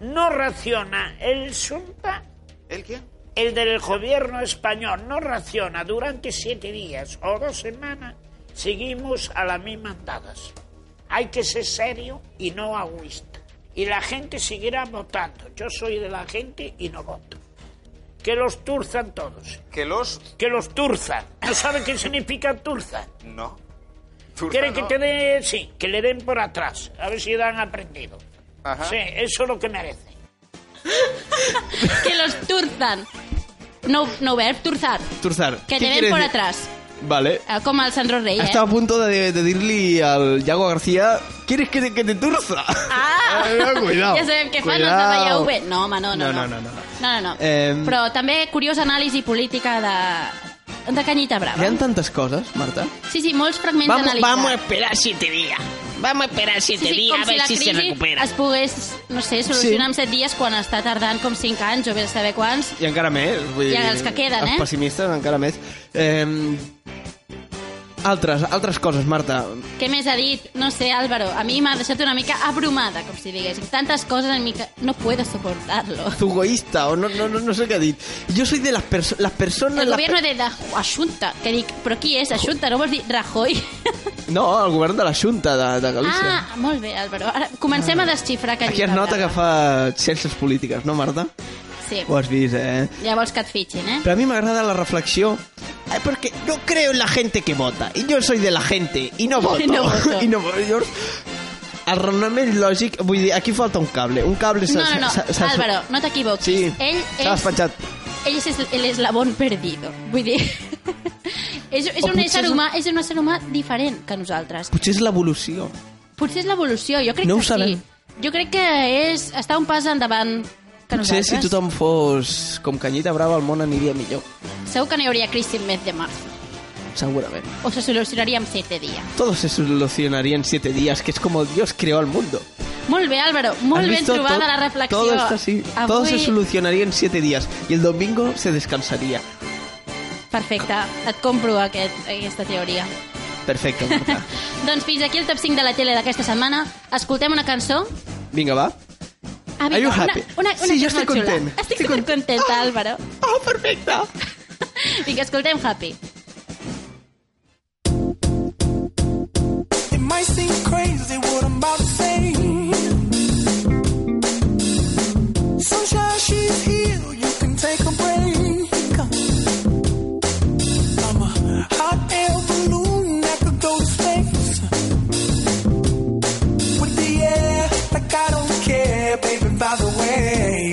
no raciona el Sunta...
¿El qué?
El del gobierno español no raciona durante siete días o dos semanas, seguimos a las mismas dadas. Hay que ser serio y no agüista. Y la gente seguirá votando. Yo soy de la gente y no voto. Que los turzan todos.
¿Que los...?
Que los turzan. ¿No saben qué significa turza?
No.
¿Quieren
no.
que te den? Sí, que le den por atrás. A ver si han aprendido.
Ajá.
Sí, eso es lo que merece.
Que los turzan. No, no verb, turzar.
Turzar.
Que
¿qué
te ven
quieres
por
decir?
atrás.
Vale.
Eh, Com el Sandro Rey, eh?
Estaba a punto de, de decirle al Yago García, ¿quieres que te, que te turza?
Ah!
Eh, cuidao,
Ja sabem què fan els
cuidao.
de Vallau No, home, no, no.
no, no, no.
no, no, no.
Em.
Però també curiosa anàlisi política de, de Canyita Brava.
Hi ha tantes coses, Marta.
Sí, sí, molts fragments
Vamos-
analitzats.
vamos a esperar siete días. Vamos a esperar
Sí,
siete
sí,
días
com
a ver
si la
si se
crisi
recupera.
es pogués, no sé, solucionar sí. en 7 dies quan està tardant com 5 anys o bé saber quants.
I encara més. Vull
I
dir,
els que queden, eh?
Els pessimistes encara més. Eh, altres, altres coses, Marta.
Què més ha dit? No sé, Álvaro, a mi m'ha deixat una mica abrumada, com si diguéssim. Tantes coses en mi que no puedo soportarlo.
Zugoista, o no, no, no, no sé què ha dit. Jo soy de las, perso las personas...
El
las
gobierno de la Junta, que dic, però qui és Junta? No vols dir Rajoy?
per- No, el govern de la Junta de, de Galícia.
Ah, molt bé, Álvaro. Ara comencem a desxifrar que
Aquí es nota que fa ciències polítiques, no, Marta?
Sí.
Ho has vist, eh?
Ja vols que et fitxin, eh?
Pero a mí me agrada la reflexión. eh, Porque no creo en la gente que vota. Y yo soy de la gente. Y no voto.
I no voto.
I no voto. Llavors, el raonament lògic... Vull dir, aquí falta un cable. Un
No,
cable... s'ha-
no, no,
s'ha- s'ha-
Álvaro, no t'equivoquis.
Sí,
Ell
s'ha
és...
despatxat.
Ell és el eslabón perdido. Vull dir... és, és,
O
un
potser
ésser
és un-
humà, és un ésser humà diferent que nosaltres.
Potser és l'evolució.
Potser és l'evolució, jo crec
No ho
que
sabem.
sí. Jo crec que és està un pas endavant que
Potser
nosaltres.
si tothom fos com Canyita Brava, el món aniria millor.
Segur que no hi hauria crisi en mes de març.
Segurament.
O se solucionaria en 7 dies.
Todo se solucionaría en siete días, que es como Dios creó al mundo.
Molt bé, Álvaro. Molt
¿Has
ben
visto?
trobada
Todo-
la reflexió.
Todo, está así.
Avui...
todo se solucionaría en siete días. Y el domingo se descansaría.
Perfecte. Et compro aquest, aquesta teoria.
Perfecto, Marta.
Doncs fins aquí el top 5 de la tele d'aquesta setmana. Escoltem una cançó.
Vinga, va.
Ah,
Are you
una,
happy?
Una, una,
Sí, jo
que és
estic
molt xula.
content.
Estic, estic contenta, Álvaro.
Oh, perfecte.
Vinga, escoltem Happy.
It might seem crazy what I'm about to say. Sunshine, she's here. You can take a break. I'm a hot air balloon that could go to space. With the air, like I don't care, baby, by the way.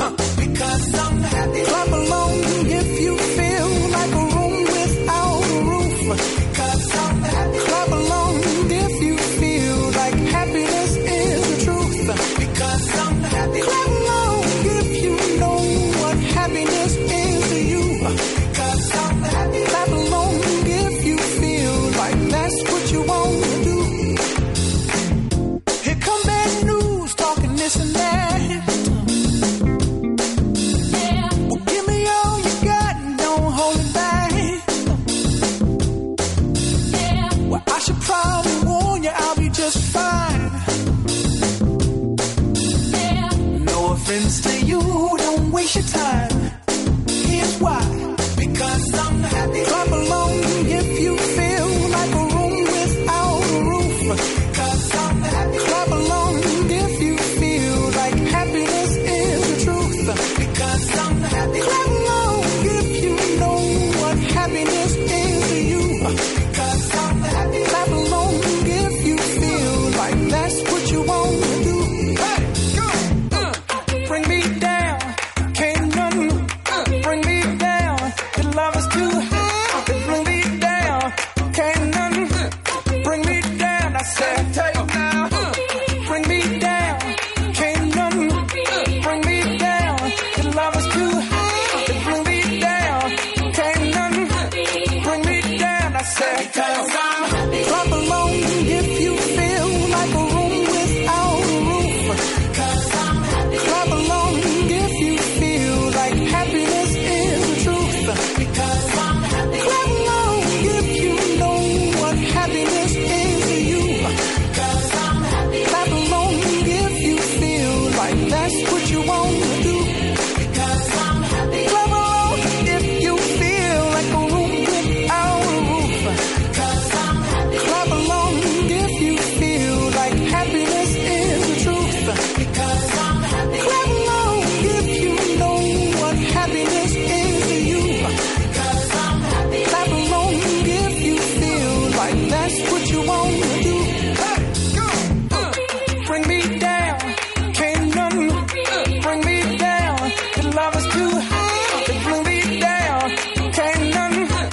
Huh, Because I'm happy. Clap along if you feel like a room without a roof. Because I'm happy. Clap along if you feel like happiness is the truth. Because I'm happy. Clap along if you know what happiness is to you. Because I'm happy. Clap along if you feel like that's what you want to do. Here come bad news talking this and that. Well, give me all you got and don't hold it back. Well, I should probably warn you I'll be just fine. No offense to you, don't waste your time. Here's why. Because I'm happy. Clap along if you feel like a room without a roof. Because I'm happy. uh, uh, I said, take now. uh, Bring me down. Can't none bring me down. Your love is too high. to Bring me down. Can't none bring me down. I said, because I'm happy. Clap along if you feel like a room without a roof. Because I'm happy. Clap along if you feel like happiness is the truth. Because I'm happy. Clap along if you know what happiness is to you. Because I'm happy. Clap along if you feel like that's what you want to do. Because I'm happy. Clap along if you feel like a room without a roof. Because I'm happy. Clap along if you feel like happiness is the truth. Because I'm happy. Clap along if you know what happiness is to you. Because I'm happy. Clap along if you feel like that's what you want to do. Hey, go. Uh, bring me down. Can't none uh, bring me down. The love is too high to bring me down. Can't none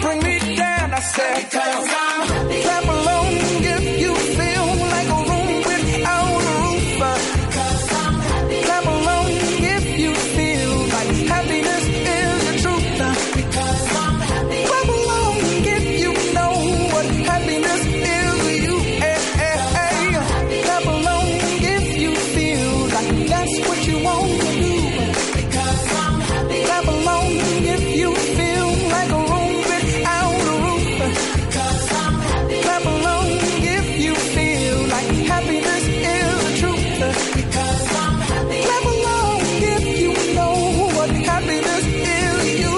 bring me down. I said, because I'm happy. Clap along if you feel like a room without a roof. Because I'm happy. Clap along if you feel like happiness is the truth. Because I'm happy. Clap along if you know what happiness is to you. Eh, eh, eh. Clap along if you feel like that's what you want to do. Because I'm happy. Clap along if you feel like a room without a roof. Because I'm happy. Clap along if you feel like happiness is the truth. Because I'm happy. Clap along if you know what happiness is to you.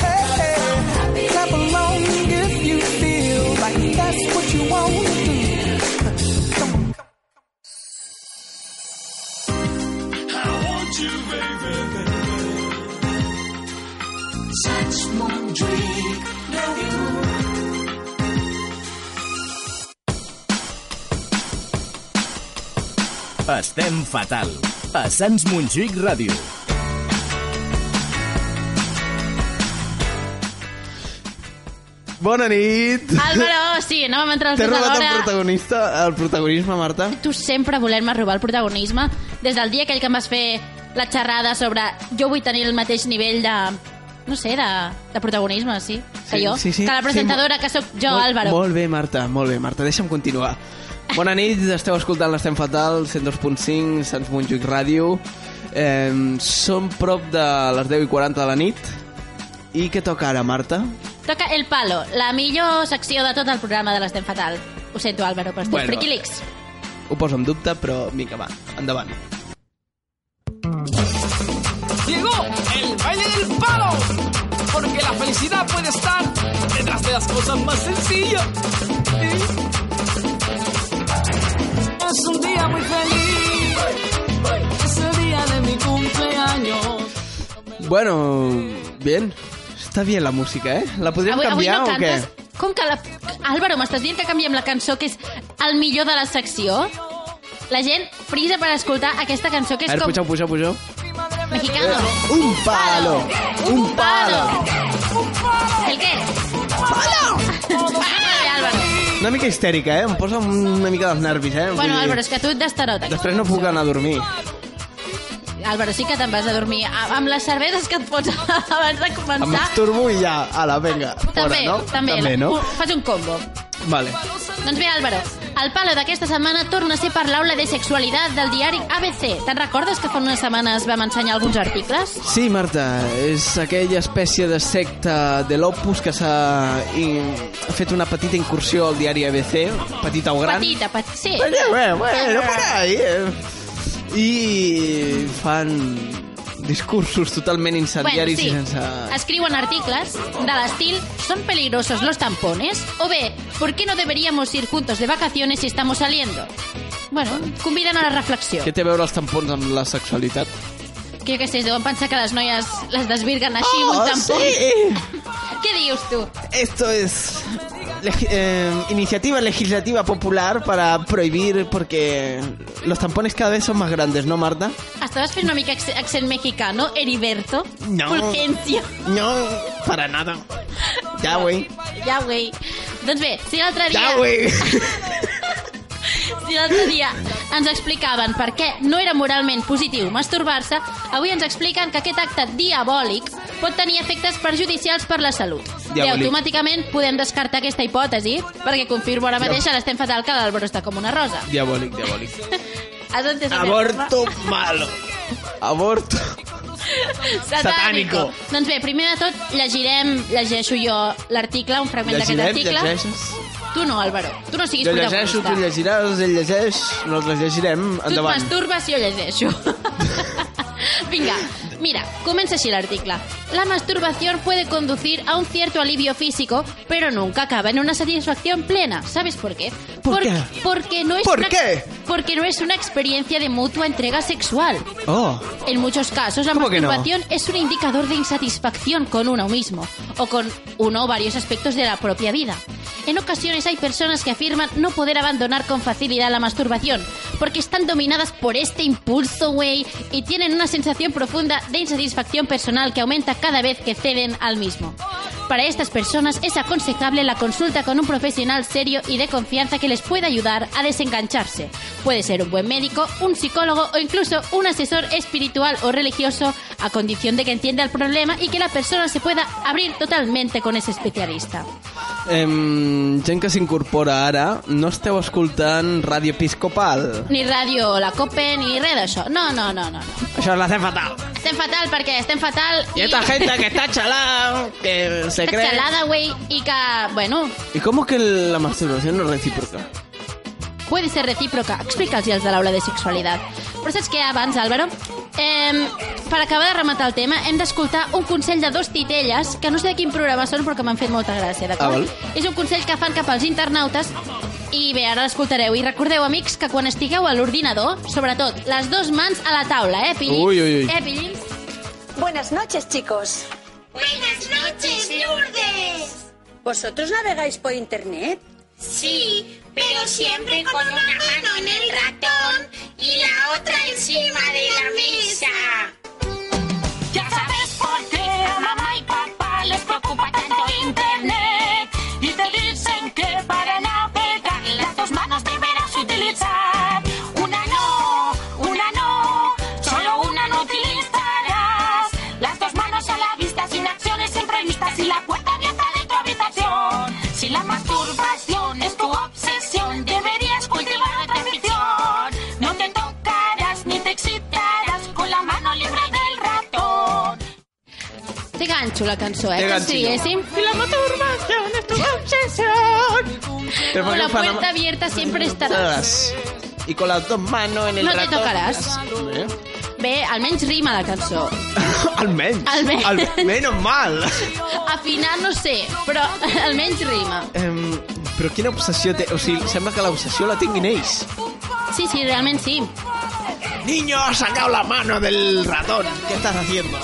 Hey, hey. Clap along if you feel like that's what you want to do. Come on. I want you, baby, baby. Such one dream, now you.
Estem fatal. A Sants Montjuïc Ràdio.
Bona nit!
Ah, Álvaro, sí, anàvem entre els
T'he
dos
robat el
alhora.
protagonista, el protagonisme, Marta?
Tu sempre volent-me robar el protagonisme des del dia aquell que em vas fer la xerrada sobre jo vull tenir el mateix nivell de no sé, de, de protagonisme, sí, que
Sí,
jo,
sí, sí.
que la
Sí,
presentadora, que sóc jo,
Molt-
Álvaro.
Molt bé, Marta, molt bé, Marta. Deixa'm continuar. Bona nit, esteu escoltant l'Estem Fatal, 102.5, Sants Montjuïc Ràdio. Eh, som prop de les 10 i 40 de la nit. I què toca ara, Marta?
Toca El Palo, la millor secció de tot el programa de l'Estem Fatal. Ho sento, Álvaro, però estic
Bueno.
bueno. friquilix.
Ho poso en dubte, però vinga, va, endavant.
Llegó el baile del palo. Porque la felicidad puede estar detrás de las cosas más sencillas. Es un día muy feliz. Es el día de mi cumpleaños.
Bueno, bien. Està bien la música, eh? La podríem
Avui, avui
canviar
no
o què?
cantes... Com que la... Álvaro, m'estàs dient que canviem la cançó que és el millor de la secció? La gent frisa per escoltar aquesta cançó que
A
és
veure, Eh.
com...
pugeu, pugeu, pugeu.
Mexicano.
Un palo, un palo.
¿El qué? ¡Palo! Vale, Álvaro.
Una mica histèrica, eh? Em posa una mica dels nervis, eh? Vull
Bueno,
dir,
Álvaro, Em és que tu et destarota.
Després no puc anar a dormir.
Álvaro, sí que te'n vas a dormir. A- Amb les cerveses que et fots abans de
Em
començar...
masturbo i ja, ala, vinga.
També,
fora, no?
també. Uh.
també no?
Un- Fas un combo.
Vale.
Doncs bé, Álvaro, el palo d'aquesta setmana torna a ser per l'aula de sexualitat del diari ABC. Te'n recordes que fa unes setmanes vam ensenyar alguns articles?
Sí, Marta, és aquella espècie de secta de l'Opus que s'ha in- ha fet una petita incursió al diari ABC, petita o gran.
Petita, petita, sí.
Bueno, bueno, bueno, por ahí, eh. I fan discursos totalment incendiaris i sense...
Escriuen articles del estil ¿Son peligrosos los tampones? O B, ¿por qué no deberíamos ir juntos de vacaciones si estamos saliendo? Bueno, conviden a la reflexió.
Què té a veure els tampons amb la sexualitat?
Que jo què sé, es deuen pensar que les noies les desvirguen així amb un tampó. Què dius tu?
Oh, Esto es leg- eh, iniciativa legislativa popular para prohibir porque los tampones cada vez son más grandes, ¿no, Marta?
Estaves fent una mica acc- accent mexicano, Heriberto?
No.
Fulgencio.
No, para nada. Ya, güey.
Ja, güey. Doncs bé, si l'altre dia...
Ya, güey.
l'altre dia ens explicaven per què no era moralment positiu masturbar-se, avui ens expliquen que aquest acte diabòlic pot tenir efectes perjudicials per la salut. Diabòlic. Bé,
Diabòlic.
automàticament podem descartar aquesta hipòtesi, perquè confirmo ara mateix
Diab-
l'estem fatal que l'Àlvaro està com una rosa.
Diabòlic, diabòlic.
Has entès? el que
Aborto
dic?
malo. Aborto.
Satànico.
Satànico.
Doncs bé, primer de tot llegirem, llegeixo jo l'article, un fragment d'aquest
Llegirem,
article.
llegeixes.
Tu no, Álvaro. Tu no siguis
Jo llegeixo,
protagonista.
tu llegiràs, ell llegeix, nosaltres llegirem.
Tu et
Endavant.
masturbes i jo llegeixo. Vinga, mira, comienza así el artículo. La masturbación puede conducir a un cierto alivio físico, pero nunca acaba en una satisfacción plena. ¿Sabes por qué?
¿Por
Porque-
qué?
Porque no es
¿Por
una-
qué?
Porque no es una experiencia de mutua entrega sexual.
Oh.
En muchos casos, la
¿Cómo que no?
masturbación es un indicador de insatisfacción con uno mismo o con uno o varios aspectos de la propia vida. En ocasiones hay personas que afirman no poder abandonar con facilidad la masturbación porque están dominadas por este impulso, güey, y tienen una sensación profunda de insatisfacción personal que aumenta cada vez que ceden al mismo. Para estas personas es aconsejable la consulta con un profesional serio y de confianza que les pueda ayudar a desengancharse. Puede ser un buen médico, un psicólogo o incluso un asesor espiritual o religioso a condición de que entienda el problema y que la persona se pueda abrir totalmente con ese especialista.
Em, gent que s'incorpora ara, no esteu escoltant Ràdio Episcopal?
Ni radio la cope ni red d'això. No, no, no, no. no.
Això la té fatal.
Estem fatal perquè estem fatal
I esta gente que está chalada, que se
Està
cree...
xalada, güey, y que, bueno,
¿Y cómo que la masturbación no es recíproca?
puede ser recíproca. Explica'ls als de l'aula de sexualitat. Però saps què abans, Álvaro? Eh, per acabar de rematar el tema, hem d'escoltar un consell de dos titelles, que no sé de quin programa són, però que m'han fet molta gràcia,
Ah,
d'acord?
val.
És un consell que fan cap als internautes i bé, ara l'escoltareu. I recordeu, amics, que quan estigueu a l'ordinador, sobretot, les dues mans a la taula, eh, Pili?
Ui, ui, ui.
Eh, Pili?
Buenas noches, chicos. Buenas noches, Lourdes. ¿Vosotros navegáis por internet?
Sí, pero siempre con una mano en el ratón y la otra encima de la mesa. Ya sabes por qué a mamá y papá les preocupa tanto Internet y te dicen que para navegar las dos manos deberás utilizar. Una no, una no, solo una no utilizarás. Las dos manos a la vista sin acciones imprevistas y la puerta abierta de tu habitación. Si la masturbación es tu obsesión, deberías cultivar otra afición. No te tocarás ni te excitarás con la mano libre del ratón.
Té ganxo, la cançó, eh?
Té
Que
ganxillo.
si diguéssim... La masturbación es tu
Pero
obsesión. Con la
fan-
puerta abierta siempre
Ah.
estarás.
Y con las dos manos en el
No te
ratón.
tocarás.
Eh?
Bé, almenys rima la cançó.
Almenys.
Almenys.
Al- menos mal.
Afinar no sé, però almenys rima.
Em, però quina obsessió té... O sigui, sembla que l'obsessió la tinguin ells.
Sí, sí, realment sí.
Niños, sacao la mano del ratón. ¿Qué estás haciendo?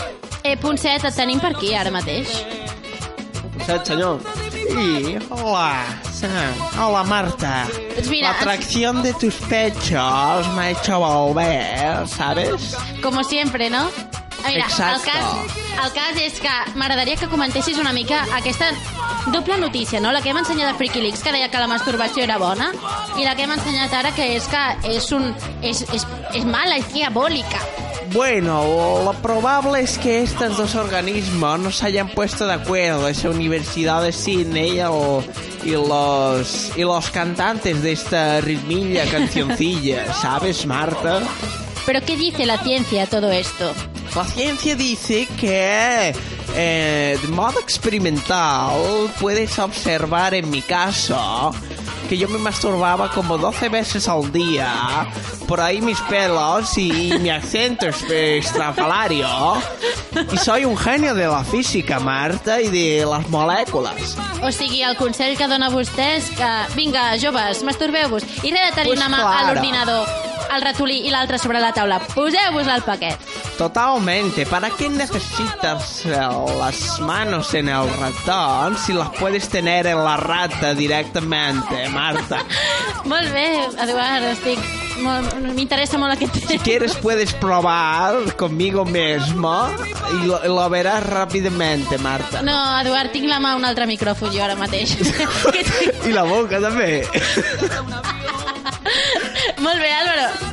Eh, punt 7, et tenim per aquí ara mateix.
Saps, senyor? Sí, hola, Sam. Hola, Marta.
Doncs mira,
la atracción de tus pechos me ha hecho volver, ¿sabes?
Como siempre, no? Ah, Mira, el
Exacte.
cas, el cas és que m'agradaria que comentessis una mica aquesta doble notícia, no? La que hem ensenyat a Freaky Leaks, que deia que la masturbació era bona, i la que hem ensenyat ara, que és que és, un, és, és, és mala, és diabòlica.
Bueno, lo probable es que estos dos organismos no se hayan puesto de acuerdo, esa universidad de cine y, el- y los, y los cantantes de esta ritmilla cancioncilla, ¿sabes, Marta?
Pero ¿qué dice la ciencia a todo esto?
La ciencia dice que eh, de modo experimental puedes observar en mi caso que yo me masturbaba como 12 veces al día, por ahí mis pelos y mi acento es- estrafalario. Y soy un genio de la física, Marta, y de las moléculas.
O sigui, el consell que dona vostè és que, vinga, joves, masturbeu-vos i res de tenir
Pues
una mà
clara.
a l'ordinador, el ratolí i l'altre sobre la taula. Poseu-vos al paquet.
Totalmente. ¿Para qué necesitas eh, las manos en el ratón si las puedes tener en la rata directamente, Marta?
Molt bé, Eduard, estic... molt- M'interessa molt aquest tema.
Si quieres puedes probar conmigo mismo y lo, lo verás rápidamente, Marta.
No, Eduard, tinc la mà a un altre micròfon jo ara mateix.
Y la boca también.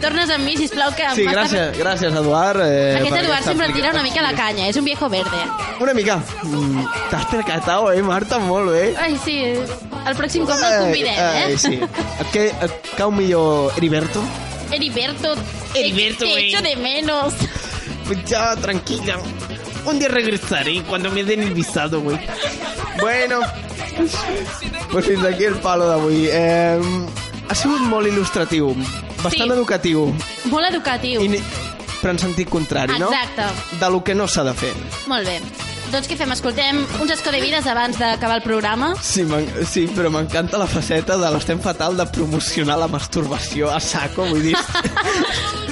tornes amb mi, sisplau, que...
Sí,
m'està-
gràcies, gràcies, Eduard. Eh,
Aquest
per
Eduard
aquesta
sempre tira una
aplicació.
mica la canya, és un viejo verde.
Una mica. Mm, T'has percatat, eh, Marta? Molt bé.
Ai, sí, el pròxim cop no el convidem, eh?
Ai, sí. Et, que, et cau millor Heriberto?
Heriberto, te-
Heriberto,
te
güey.
echo de menos.
Ya, tranquila. Un día regresaré cuando me den el visado, güey.
Bueno, pues fins aquí el palo d'avui. Eh, ha sigut molt il·lustratiu, bastant
Sí.
educatiu,
Molt educatiu.
I ni- però en sentit contrari, no?
Exacte.
De lo que no s'ha de fer.
Molt bé. Doncs què fem? Escoltem uns escodevides abans d'acabar el programa.
Sí, m'en- sí però m'encanta la faceta de l'estem fatal de promocionar la masturbació a saco, vull dir...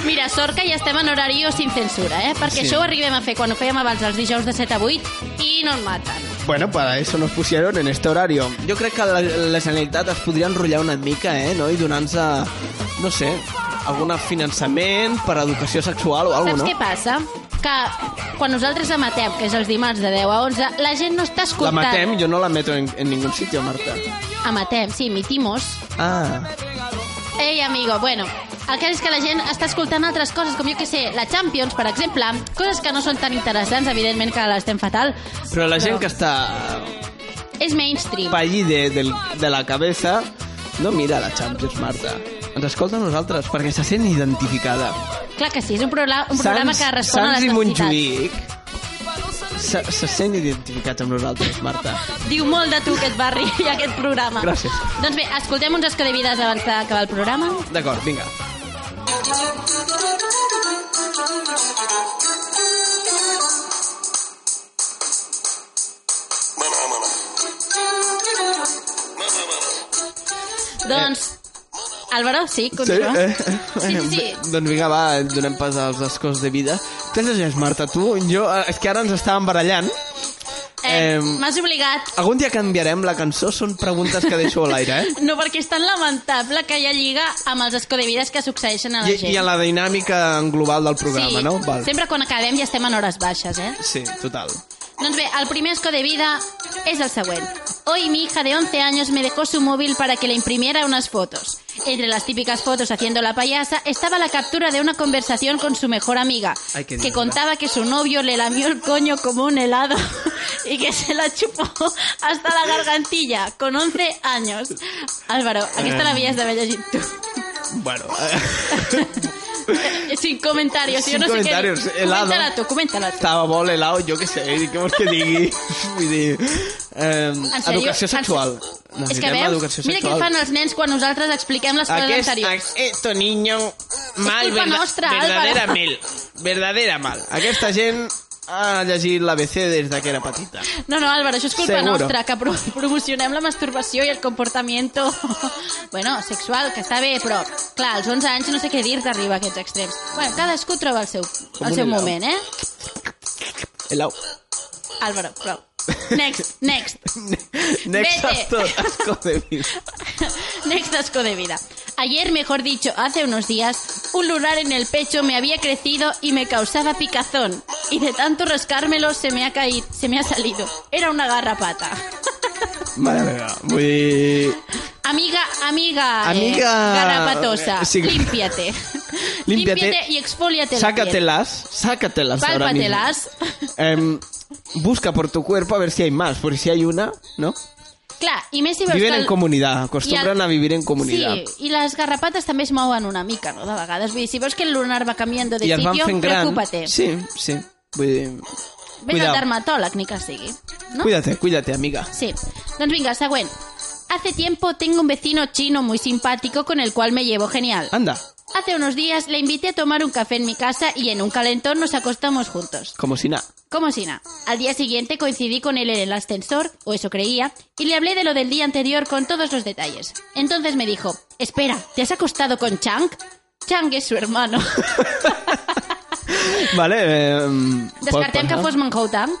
Mira, sort que ja estem en horari o sin censura, eh? Perquè
Sí.
això ho arribem a fer quan ho fèiem abans els dijous de 7 a 8 i no en maten.
Bueno, para eso nos pusieron en este horario. Jo crec que la, la Generalitat es podria enrotllar una mica, eh, no? I donar-nos, eh, no sé, algun finançament per educació sexual o alguna
Saps
Oh, no?
què passa? Que quan nosaltres emetem, que és els dimarts de 10 a 11, la gent no està
La
escoltant.
matem, yo no la meto en, en ningún sitio, Marta.
Emetem, sí, emitimos.
Ah,
Ei, amigo, bueno, el cas és que la gent està escoltant altres coses, com jo que sé, la Champions, per exemple, coses que no són tan interessants, evidentment que l'estem fatal.
però la
Però-
gent que està
És mainstream.
pa allí de, del- de la cabeza no mira la Champions, Marta. Ens escolta a nosaltres perquè se sent identificada.
Clar que sí, és un, programa, un programa que respon a
Sants
les
i
necessitats.
Montjuïc se, se sent identificats amb nosaltres, Marta.
Diu molt de tu aquest barri i aquest programa.
Gràcies.
Doncs bé, escoltem uns escodevides abans d'acabar el programa.
D'acord, vinga.
Doncs, Álvaro, sí, continua.
Eh. Sí, eh?
Doncs Sí, sí, sí.
Bé, Doncs vinga, va, donem pas als escos de vida. Què llegeix, Marta, tu? Jo, eh, és que ara ens estàvem barallant.
Eh,
Em,
M'has obligat.
Algun dia canviarem la cançó, són preguntes que deixo a l'aire, eh?
No, perquè és tan lamentable que ja lliga amb els escodevides que succeeixen a la
I,
gent.
I en la dinàmica en global del programa,
Ah, sí.
no? Val.
Sempre quan acabem ja estem en hores baixes, eh?
Sí, total.
Doncs bé, el primer esco de vida es el següent. Hoy mi hija de 11 años me dejó su móvil para que le imprimiera unas fotos. Entre las típicas fotos haciendo la payasa estaba la captura de una conversación con su mejor amiga,
Ay,
que
qué dignidad.
contaba que su novio le lamió el coño como un helado y que se la chupó hasta la gargantilla, con 11 años. Álvaro, aquesta
Eh.
l'havies d'haver llegit tu.
Bueno, eh,
Sin comentarios.
Sin
jo no
comentarios,
sé què... dir.
helado.
Coméntala tu, coméntala tu.
estava molt helau, jo què sé, què vols que digui? Vull dir, eh,
En sèrio?
educació
En
sexual.
És que
Necessitem
veus,
educació
mira què
sexual.
fan els nens quan nosaltres expliquem les coses
Aquest-
anteriors.
Esto niño
Mal, verda-
culpa nostra,
verdadera
Álvaro.
mel.
Verdadera mal. Aquesta gent ha llegit l'ABC des de que era petita.
No, no, Álvaro, això és culpa
Seguro.
nostra, que pro promocionem la masturbació i el comportamiento, bueno, sexual, que està bé, però, clar, als 11 anys no sé què dir-te arriba a aquests extrems. Bueno, cadascú troba el seu,
Com
el
un
seu
helado.
moment, eh?
Helau.
Álvaro, prou. Next, next,
Next
Vete.
actor, asco de vida.
next asco de vida. Ayer, mejor dicho, hace unos días, un lunar en el pecho me había crecido y me causaba picazón. Y de tanto rascármelo se me ha caído, se me ha salido. Era una garrapata.
Mare meva, vull dir...
Amiga, amiga, eh,
Amiga-
garrapatosa,
eh, sí.
límpiate.
Límpiate.
y exfoliate la piel.
Sácatelas, sácatelas ahora mismo.
Pálpatelas.
Em, busca por tu cuerpo a ver si hay más, porque si hay una, ¿no?
Clar, i més si veus
Viven
que el-
en comunidad, acostumbran
i el-
a vivir en comunidad.
Sí, i les garrapates també es mouen una mica, no?, de vegades. Vull dir, si veus que el lunar va canviant de
I es van
sitio,
fent gran.
preocupa-te.
Sí, sí. Vull dir...
Ves al
Cuidao.
dermatòleg, ni que sigui. No?
Cuídate, cuídate, amiga.
Sí. Doncs vinga, següent. Hace tiempo tengo un vecino chino muy simpático con el cual me llevo genial.
Anda,
Hace unos días le invité a tomar un café en mi casa y en un calentón nos acostamos juntos.
como si nada.
Como si nada. Al día siguiente coincidí con él en el ascensor, o eso creía, y le hablé de lo del día anterior con todos los detalles. Entonces me dijo, espera, ¿te has acostado con Chang? Chang es su hermano.
Vale, eh... pot
Descartem que
passar.
fos Manhou Tang.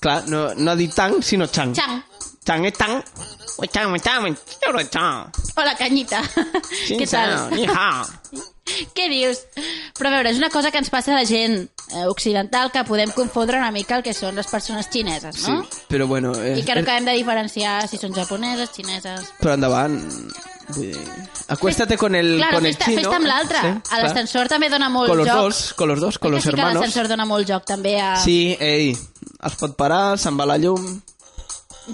Clar, no, no ha dit tang, sinó chang.
Chang.
Chang és tang. Ui, Chang, chang, chang, chang.
Hola, canyita. Què tal?
Ni hao.
Què dius? Però a veure, és una cosa que ens passa a la gent eh, occidental que podem confondre una mica el que són les persones xineses,
Sí,
no?
però bueno... eh,
I
És,
que no
és,
acabem de diferenciar si són japoneses, xineses...
però endavant, Vull dir, mm, acuéstate con el,
Claro,
con el
fes-te
chino.
fes amb l'altre.
Sí,
a
clar.
l'ascensor també dona molt
Con los
joc.
dos, con los dos, con los
sí que
hermanos.
l'ascensor dona molt joc també a...
Sí, ei, es pot parar, se'n va la llum,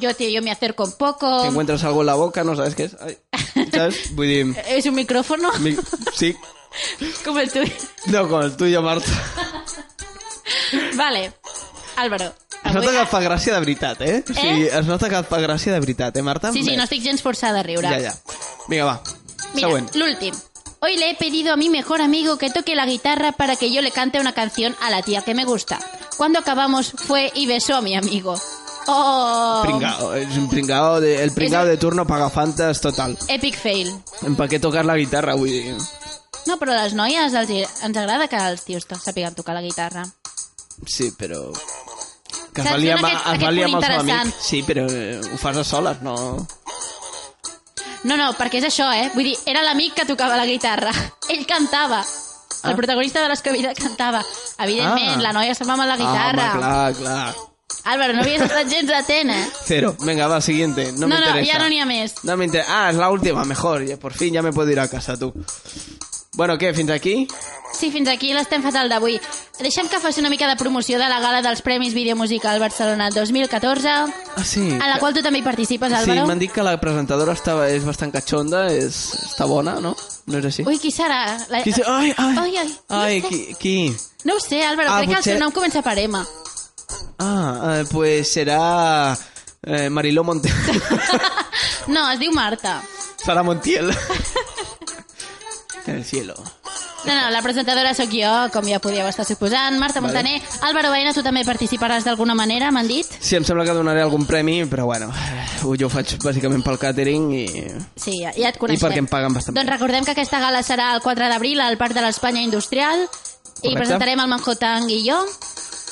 Yo, tío, yo me acerco un poco.
si encuentras algo en la boca, no sabes què és. Ai, saps? Vull dir...
¿Es Eh, un micrófono?
Mi... Sí,
Como el tuyo.
no, com el tuyo, Marta.
Vale, Álvaro.
Es nota que et fa gràcia de veritat, eh? O sigui,
Eh?
es nota que et fa gràcia de veritat, eh, Marta?
Sí, sí,
Bé,
no estic gens forçada a riure.
Ja, ja. Vinga, va.
Mira,
Següent.
l'últim. Hoy le he pedido a mi mejor amigo que toque la guitarra para que yo le cante una canción a la tía que me gusta. Cuando acabamos fue y besó a mi amigo. Oh,
Pringao, és un pringao, de, el pringao de turno paga fantes total.
epic fail.
En pa què tocar la guitarra, vull dir.
No, però a les noies els, hi- ens agrada que els tios to- sàpiguen tocar la guitarra.
Sí, però... Que es
Saps?
va liar,
Dona aquest-
amb- es va
aquest
liar amb
punt
el seu amic.
interessant.
Sí, però eh, ho fas a soles, no... Ah,
No, no, perquè és això, eh? Vull dir, era l'amic que tocava la guitarra. Ell cantava. El
Ah.
protagonista de l'Escovilla cantava. Evidentment,
Ah.
la noia se'n va amb la guitarra.
Ah, home, clar, clar.
Álvaro, no havies estat gens atent, eh?
Cero. Venga, va, siguiente. No,
No, no,
me interesa.
ja no n'hi ha més.
No me interesa. Ah, es la última, mejor. Ya, Por fin ya me puedo ir a casa, tú. Bueno, ¿qué? ¿Fins aquí?
Sí, fins aquí l'estem fatal d'avui. Deixem que faci una mica de promoció de la gala dels Premis Vídeo Musical Barcelona 2014,
Ah, sí.
a la qual tu també hi participes,
Sí,
Álvaro.
m'han dit que la presentadora estava, és bastant catxonda, és, està bona, no? No és així?
Ui, qui serà? La...
Qui se- ai, ai.
ai, ai.
Ai,
no, ho sé.
qui, qui?
no ho sé, Álvaro,
Ah,
crec que el
potser-
seu nom comença per M.
Ah, eh, pues serà... Eh, Mariló Monte...
No, es diu Marta.
Sara Montiel. en el cielo.
No, no, la presentadora sóc jo, com ja podíeu estar suposant. Marta
Vale.
Montaner, Álvaro Baena, tu també participaràs d'alguna manera, m'han dit?
Sí, em sembla que donaré algun premi, però bueno, eh, jo ho faig bàsicament pel càtering i...
Sí, ja, ja et
I
coneixem.
perquè em paguen bastant
Doncs recordem que aquesta gala serà el 4 d'abril al Parc de l'Espanya Industrial i
Correcte.
presentarem el Manhattan i jo.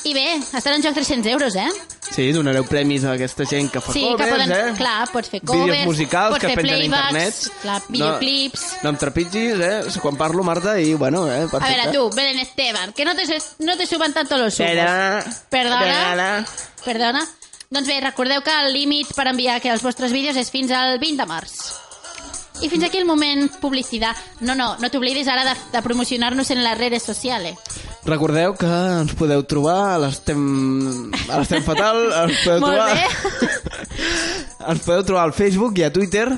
I bé, estarà en joc 300 euros, eh?
Sí, donareu premis a aquesta gent que fa
sí,
covers,
que poden...
eh?
Clar, pots fer
Vídeos
covers,
musicals
pots
que
fer
pengen a
playbacks,
internet.
clar,
No.
videoclips...
No em trepitgis, eh? Quan parlo, Marta, i bueno, eh?
A
Perfecte.
ver, a tú, Belén Esteban, que no te, su- no te suban tanto los humos.
Perdona.
Perdona.
Perdona.
Perdona. Doncs bé, recordeu que el límit per enviar que els vostres vídeos és fins al 20 de març. I fins aquí el moment publicitat. No, no, no t'oblidis ara de, de promocionar-nos en les redes socials.
Recordeu que ens podeu trobar a l'Estem... A l'Estem Fatal. Ens podeu
Molt
trobar...
bé.
Ens podeu trobar al Facebook i a Twitter.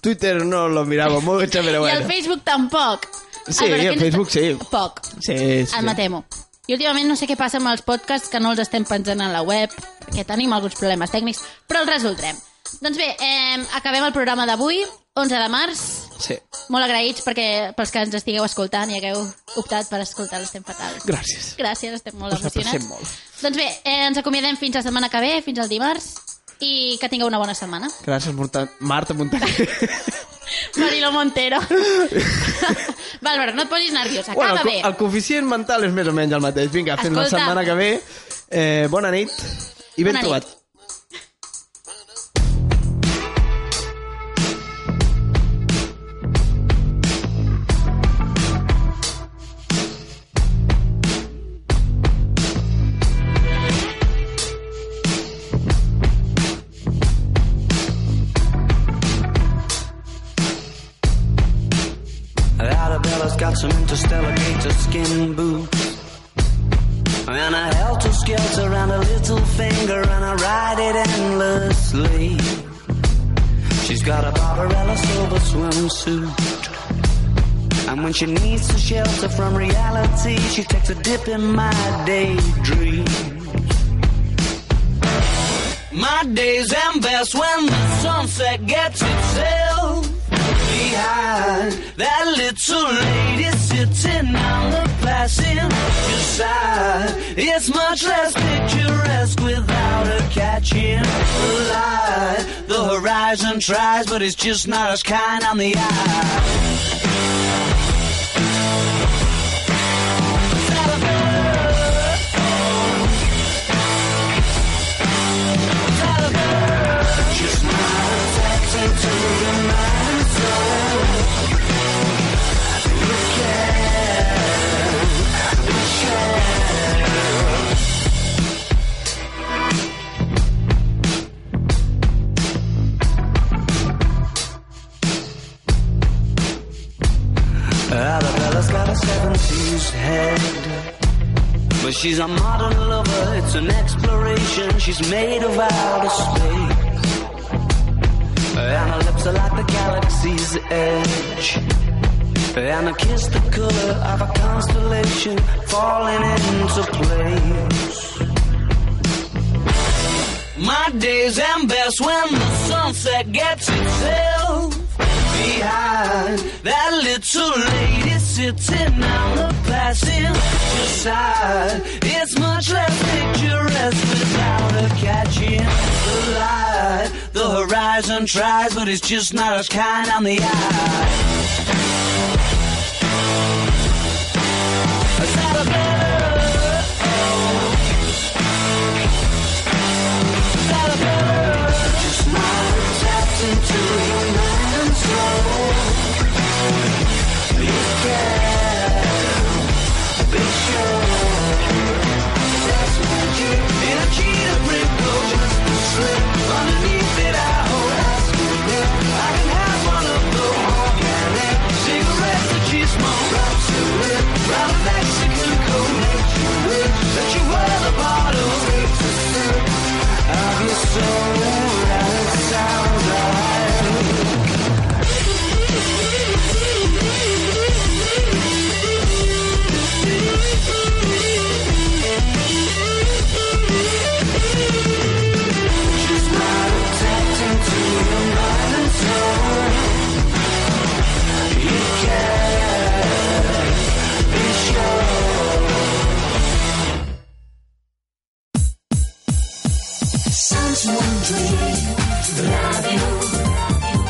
Twitter no lo mirava mucho, però
I
bueno.
el Facebook tampoc. Ah,
Sí,
Álvaro,
el
quin-
Facebook sí.
Poc.
Sí, sí.
El matemo. I últimament no sé què passa amb els podcasts que no els estem penjant a la web, perquè tenim alguns problemes tècnics, però els resoldrem. Doncs bé, eh, acabem el programa d'avui, 11 de març.
Sí.
Molt agraïts perquè pels que ens estigueu escoltant i hagueu optat per escoltar l'Estem Fatal.
Gràcies.
Gràcies, estem molt
Us apreciat
emocionats.
molt.
Doncs bé, eh, ens acomiadem fins la setmana que ve, fins al dimarts, i que tingueu una bona setmana.
Gràcies, Marta, Marta Montaner.
Marilo Montero. Valver, no et posis nerviós, acaba
el, co-
bé.
el coeficient mental és més o menys el mateix. Vinga, fins la
Escolta.
setmana que ve. Eh, bona nit i ben
Bona nit.
trobat.
Arabella's got some interstellar gator skin boots. And a helter skelter and a little finger, and I ride it endlessly. She's got a Barbarella silver swimsuit. And when she needs to shelter from reality, she takes a dip in my daydream. My days am best when the sunset gets itself behind that little lady sitting on the passenger side. It's much less picturesque without her catching the light. The horizon tries, but it's just not as kind on the eye. Arabella's got a seven seas head. But she's a modern lover, it's an exploration. She's made of outer space. And her lips are like the galaxy's edge. And a kiss the color of a constellation falling into place. My days end best when the sunset gets itself behind that little lady sitting on the passenger side. It's much less picturesque without her catching the light. The horizon tries, but it's just not as kind on the eye. Is that a better? Is that a better? Just not tapped into your mind and soul. You can be sure. That's magic. Energy to bring closure. Slip underneath it. I hold asking if I can have one of the organic cigarettes that you smoke. Right to it. Round a Mexican coat. Make you wish that you were the bottle. Wait to sip. Of your soul. That it sounds like.
Sans Montjuïc Ràdio.